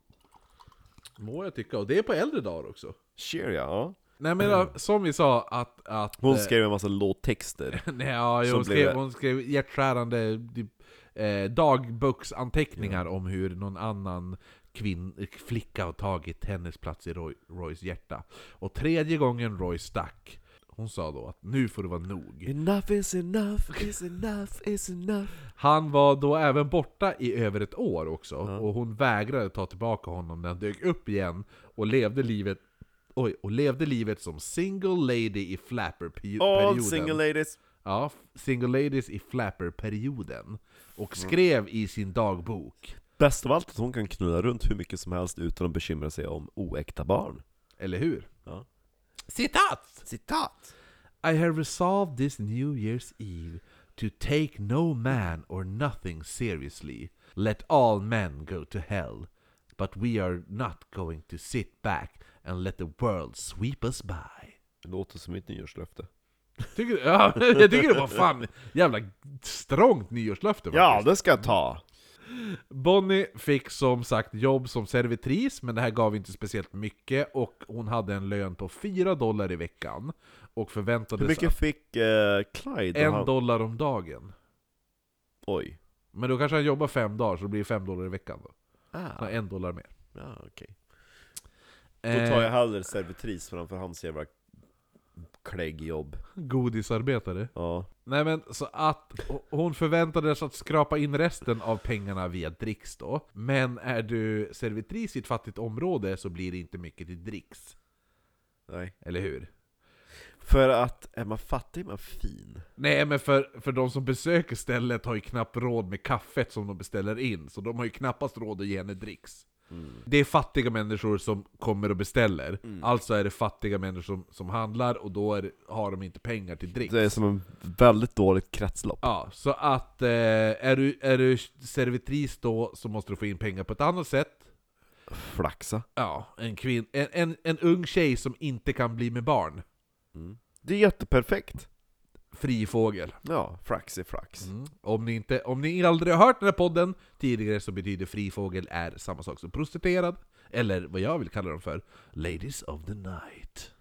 Ja, må jag tycka. Och det är på äldre dagar också. Cher ja. ja. Nej men ja, som vi sa att... att Mm. Hon eh, skrev en massa låttexter. Nej, ja, Så hon, blev skrev, det. hon skrev hjärtskärande typ, eh, dagboksanteckningar om hur någon annan kvinn, flicka har tagit hennes plats i Roy, Roys hjärta. Och tredje gången Roy stack, hon sa då att nu får det vara nog. Enough is enough is enough is enough. Han var då även borta i över ett år också, och hon vägrade ta tillbaka honom när han dök upp igen och levde livet Oj, och levde livet som single lady i flapper-perioden. All single ladies. Ja, Single Ladies i Flapper-perioden. Och skrev i sin dagbok, Bäst av allt att hon kan knulla runt hur mycket som helst utan att bekymra sig om oäkta barn. eller hur? Ja. Citat! Citat! I have resolved this New Year's Eve to take no man or nothing seriously. Let all men go to hell. But we are not going to sit back and let the world sweep us by. Det låter som mitt nyårslöfte. Tycker, ja, jag tycker det var fan jävla strångt nyårslöfte Ja, det ska jag ta! Bonnie fick som sagt jobb som servitris, men det här gav inte speciellt mycket och hon hade en lön på 4 dollar i veckan och Hur förväntades mycket fick eh, Clyde? en Han- dollar om dagen. Oj. Men då kanske han jobbar fem dagar, så det blir 5 dollar i veckan då. Så Ah, en dollar mer. ja, okej. Då Eh. tar jag hellre servitris framför hans jävla kläggjobb. Godisarbetare. Ja. Nej men så att hon förväntades att skrapa in resten av pengarna via dricks då. Men är du servitris i ett fattigt område så blir det inte mycket till dricks. Nej. Eller hur? För att är man fattig är man fin. Nej men för, för de som besöker stället har ju knappt råd med kaffet som de beställer in, så de har ju knappast råd att ge henne dricks. Mm. Det är fattiga människor som kommer och beställer, alltså är det fattiga människor som, som handlar och då är, det- har de inte pengar till dricks. Det är som ett väldigt dåligt kretslopp. Ja, så att eh, är, du, är du servitris då så måste du få in pengar på ett annat sätt. Flaxa. Ja, en, kvin- en, en, en ung tjej som inte kan bli med barn. Det är jätteperfekt. Fri fågel. Ja, flax är flax. Mm. Om ni, inte, om ni aldrig har hört den här podden tidigare så betyder frifågel är samma sak som prostituerad, eller vad jag vill kalla dem för, Ladies of the Night.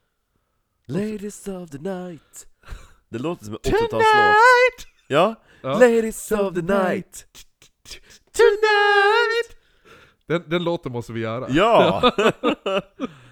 Ladies of the night. Det låter som en 80-talslåt. Ja. Ja. Ladies of the night. Tonight! Den, den låten måste vi göra. Ja!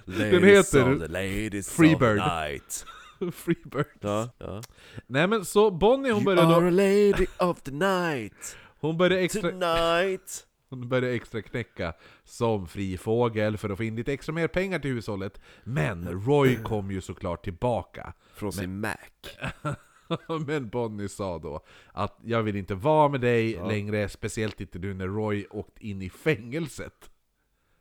den heter ladies Freebird. of the night. Freebird. Ja, ja. Nej men så Bonnie hon You började, are då, a lady of the night. hon började extra... Tonight. Hon började extra knäcka som fri fågel för att få in lite extra mer pengar till hushållet. Men Roy kom ju såklart tillbaka. Från sin Mac. Men Bonnie sa då att jag vill inte vara med dig längre, speciellt inte nu när Roy åkt in i fängelset.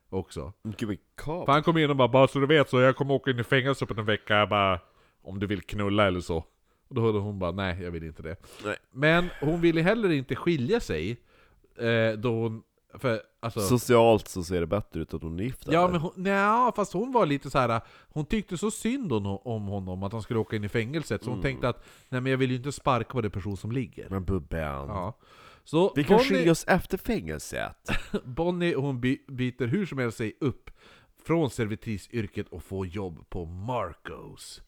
Också. Gud vad kap. För han kom in och bara, bara så du vet så jag kommer åka in i fängelse på en vecka, jag bara, om du vill knulla eller så. Och då hörde hon bara, nej jag vill inte det. Nej. Men hon ville heller inte skilja sig, eh, då hon, för alltså... Socialt så ser det bättre ut att hon är gift Ja eller? men hon, nja, fast hon var lite så här. hon tyckte så synd hon, om honom att han skulle åka in i fängelset, så hon tänkte att nej men jag vill ju inte sparka på den person som ligger. men Bubben. Ja. Så Vi kan skilja Bonnie, oss efter fängelset. Bonnie hon by, byter hur som helst sig upp från servitrisyrket och får jobb på Marcos.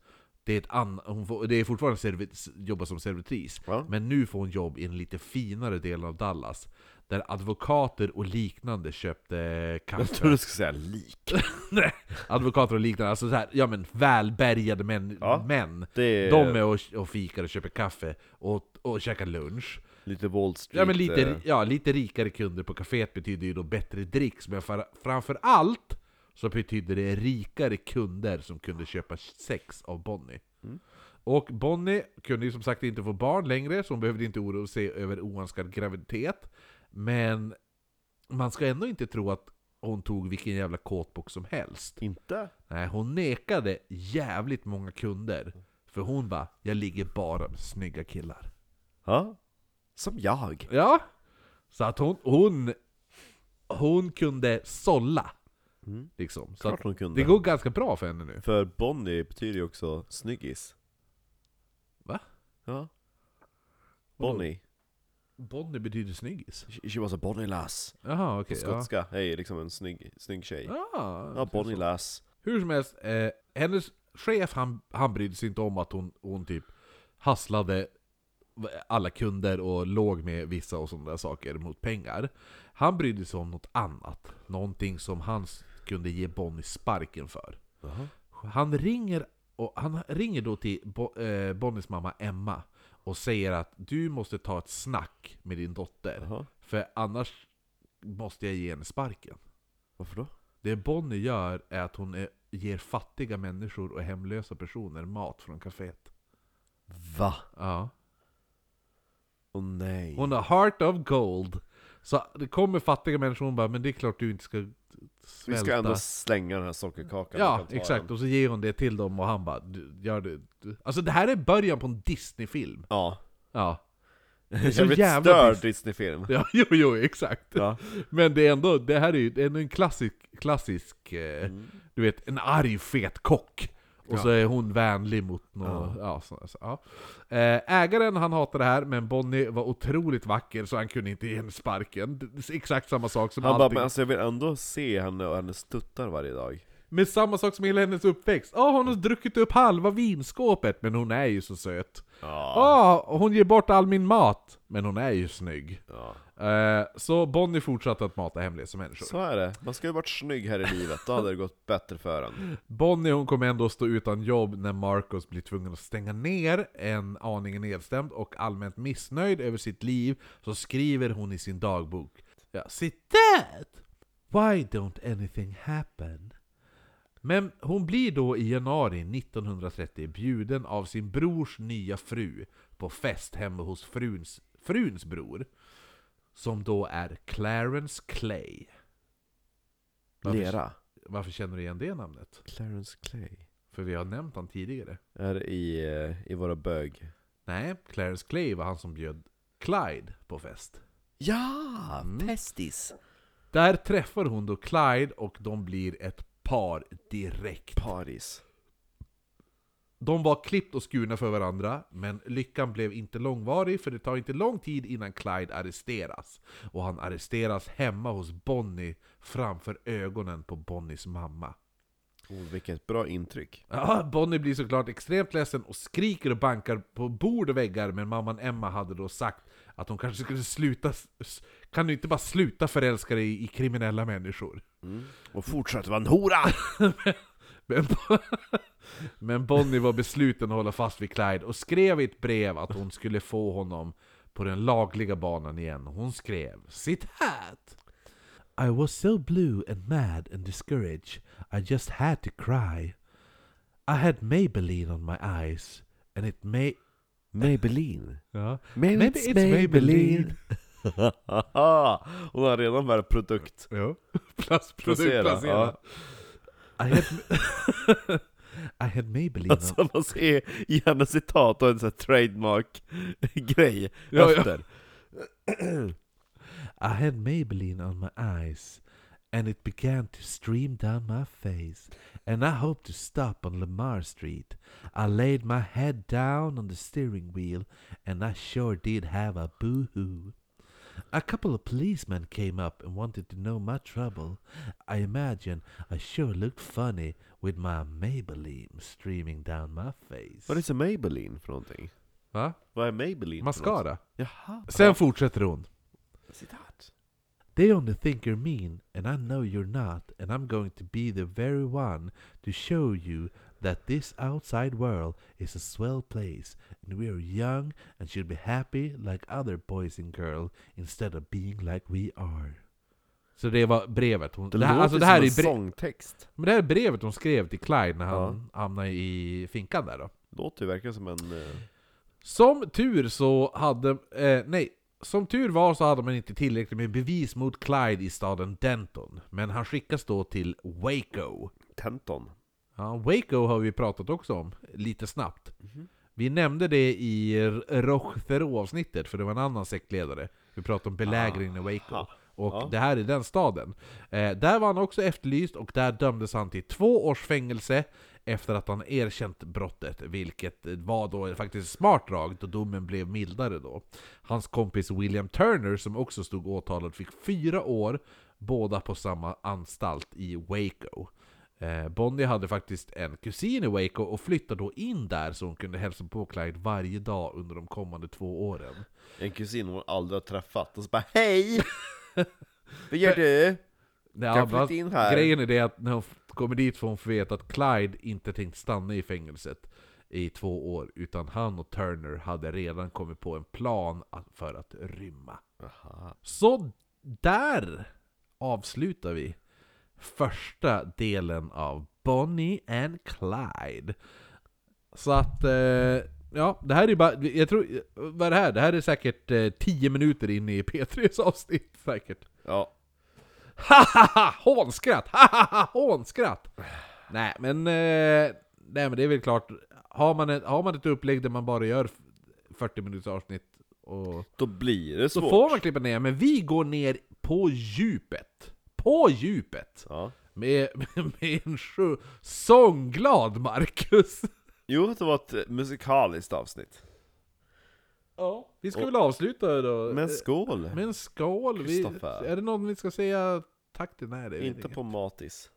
Det är, ett an, hon får, det är fortfarande servit, jobba som servitris, Ja. men nu får hon jobb i en lite finare del av Dallas. Där advokater och liknande köpte Jag trodde kaffe. du skulle säga lik. Nej, advokater och liknande, alltså så här, ja men välbärgade män. Ja. män. Det är De är och, och fikar och köper kaffe och, och käkar lunch. lite Wall Street. Ja, men lite, eh, ja, lite rikare kunder på kaféet betyder ju då bättre dricks, men far, framför allt så betyder det rikare kunder som kunde köpa sex av Bonnie. Och Bonnie kunde ju som sagt inte få barn längre, så hon behövde inte oroa sig över oönskad graviditet. Men man ska ändå inte tro att hon tog vilken jävla kåtbock som helst. Inte? Nej, hon nekade jävligt många kunder. För hon bara, jag ligger bara med snygga killar. Ja. Som jag. Ja. Så att hon, hon, hon kunde sålla. Liksom. Så Klart att hon kunde. det går ganska bra för henne nu. För Bonnie betyder ju också snyggis. Va? Ja. Vadå? Bonnie. Bonnie betyder snyggis. She, she was a Bonnie lass. Jaha, okej. ja. Skotska. Hej, liksom en snygg, snygg tjej. Ah, Ja, Bonnie lass. Hur som helst, eh, hennes chef han, han brydde sig inte om att hon, hon typ hasslade alla kunder och låg med vissa och sådana där saker mot pengar. Han brydde sig om något annat. Någonting som han s- kunde ge Bonnie sparken för. Han ringer och han ringer då till Bo, eh, Bonnies mamma Emma och säger att du måste ta ett snack med din dotter. Jaha. För annars måste jag ge henne sparken. Varför då? Det Bonnie gör är att hon är, ger fattiga människor och hemlösa personer mat från kaféet. Va? Ja. Åh nej. Hon har heart of gold. Så det kommer fattiga människor och hon bara 'Men det är klart du inte ska Vi svälta' ska ändå slänga den här sockerkakan. Vi Ja, kan ta exakt. den. Och så ger hon det till dem och han bara "Du, gör det. du." Alltså det här är början på en Disney-film. Ja. Ja. Det är Det så är en jävligt jävla störd Disney. Disney-film. Ja, jo, jo, exakt. Ja. Men det är ändå, det här är ju det är ändå en klassisk, klassisk eh, Mm. du vet, en arg fet kock. Och så är hon vänlig mot någon, ja. så, så, ja. Eh, Ägaren han hatar det här, men Bonnie var otroligt vacker så han kunde inte ge henne sparken. Det är Exakt samma sak som Han bara, allting. men alltså jag vill ändå se henne och hennes tuttar varje dag. Med samma sak som hela hennes uppväxt. Ja, hon har druckit upp halva vinskåpet, men hon är ju så söt. Ja, och hon ger bort all min mat, men hon är ju snygg. Eh, så Bonnie fortsatte att mata hemlösa människor. Så är det. Man ska ju varit snygg här i livet, då hade det gått bättre för en. Bonnie hon kommer ändå stå utan jobb när Marcos blir tvungen att stänga ner en aningen nedstämd och allmänt missnöjd över sitt liv så skriver hon i sin dagbok ja, citat! Why don't anything happen? Men hon blir då i januari 1930 bjuden av sin brors nya fru på fest hemma hos fruns, fruns bror som då är Clarence Clay. Varför- Lera. Varför känner du igen det namnet? Clarence Clay. För vi har nämnt han tidigare. Är det i, eh, i våra bög. Nej, Clarence Clay var han som bjöd Clyde på fest. Ja! Pestis. Där träffar hon då Clyde och de blir ett par direkt. Paris. De var klippt och skurna för varandra, men lyckan blev inte långvarig för det tar inte lång tid innan Clyde arresteras. Och han arresteras hemma hos Bonnie framför ögonen på Bonnies mamma. Oh, vilket bra intryck. Ja, Bonnie blir såklart extremt ledsen och skriker och bankar på bord och väggar men mamman Emma hade då sagt att hon kanske skulle sluta... s- Kan du inte bara sluta förälska dig i kriminella människor? Och fortsätt vara en hora! Men, men Bonnie var besluten att hålla fast vid Clyde och skrev i ett brev att hon skulle få honom på den lagliga banan igen. Hon skrev citat. I was so blue and mad and discouraged, I just had to cry. I had Maybelline on my eyes, and it may... Maybelline. Ja. Maybe, it's Maybelline. Hon har redan varit produkt. Ja. Plast, Placera, ja. I had, I had Maybelline on... Alltså man ser i hennes citat och en sån här trademark-grej Ja, ja. efter. I had Maybelline on my eyes, and it began to stream down my face, and I hoped to stop on Lamar Street. I laid my head down on the steering wheel, and I sure did have a boo-hoo. A couple of policemen came up and wanted to know my trouble. I imagine I sure looked funny with my Maybelline streaming down my face. Vad är så Maybelline för någonting? Va? Vad är Maybelline för något? Jaha. Sen fortsätter hon. Citat. They only think you're mean, and I know you're not, and I'm going to be the very one to show you that this outside world is a swell place, and we are young and should be happy like other boys and girls instead of being like we are. Så det var brevet hon... Det, Det, här, låter alltså det, här som är en bre- sångtext. men det här är brevet hon skrev till Clyde när han hamnade i finkan där då. Låter ju verkligen som en... eh, Som tur så hade... Eh, nej. Som tur var så hade man inte tillräckligt med bevis mot Clyde i staden Denton. Men han skickas då till Waco. Tenton. Ja, Waco har vi pratat också om, lite snabbt. Vi nämnde det i R- Rochefero-avsnittet, för det var en annan sektledare. Vi pratade om belägringen i Waco. Och det här är den staden. Eh, där var han också efterlyst och där dömdes han till två års fängelse efter att han erkänt brottet, vilket var då faktiskt ett smart drag då domen blev mildare då. Hans kompis William Turner, som också stod åtalad, fick fyra år, båda på samma anstalt i Waco. Eh, Bonnie hade faktiskt en kusin i Waco och flyttade då in där så hon kunde hälsa på Clyde varje dag under de kommande två åren. En kusin hon aldrig har träffat och så bara HEJ! Vad gör du? Nej, Kan jag men flytta in här? Grejen är det att när hon f- kommer dit får hon veta att Clyde inte tänkt stanna i fängelset i två år, utan han och Turner hade redan kommit på en plan att- för att rymma. Så där avslutar vi första delen av Bonnie and Clyde. Så att, eh, ja, det här är bara, jag tror, vad är det här? Det här är säkert eh, 10 minuter in i P3s avsnitt säkert. Ja, Hahaha! Hånskratt! Hahaha! Hånskratt! Nej men, eh, nej men det är väl klart, har man ett, har man ett upplägg där man bara gör f- 40 minuters avsnitt och, då blir det så svårt. får man klippa ner, men vi går ner på djupet. På djupet! Ja. Med, med, med en sjö, sångglad Marcus! Jo, det var ett musikaliskt avsnitt. Ja. Vi ska väl avsluta då? Men skål! Med en skål! Vi, Kristoffer. är det någon vi ska säga tack till? Nej det är väl Inte inget. på Matis.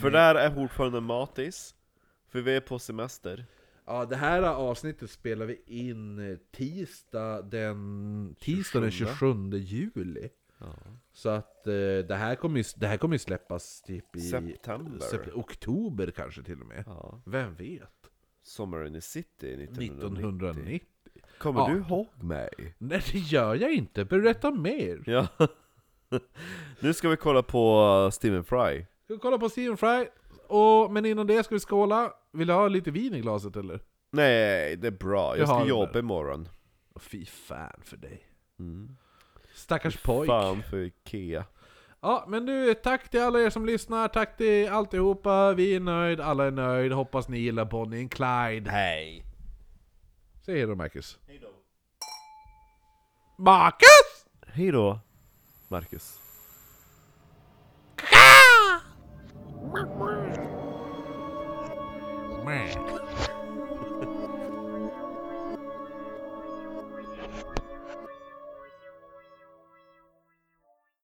För där är fortfarande Matis. För vi är på semester. Ja, det här avsnittet spelar vi in eh, tisdag den, tisdag den 27 juli. Så att eh, det här kommer ju, det här kommer ju släppas typ i September. sep- oktober kanske till och med. Ja. Vem vet? Summer in the city 1990. 1990? Kommer Ja. du ihåg mig? Nej, det gör jag inte. Berätta mer. Ja. nu ska vi kolla på uh, Stephen Fry. Ska vi kolla på Steven Fry? Och, men innan det ska vi skåla. Vill du ha lite vin i glaset eller? Nej, det är bra. Jag Jag har ska den jobba där. imorgon. Åh, Fy fan för dig. Stackars pojk. Mm. Fan för Ikea. Ja, men du, tack till alla er som lyssnar, tack till alltihopa, vi är nöjd, alla är nöjd, hoppas ni gillar Bonnie and Clyde. Hej! Säg hej då Marcus. Hej då. Marcus! Hej då, Marcus. Mäh.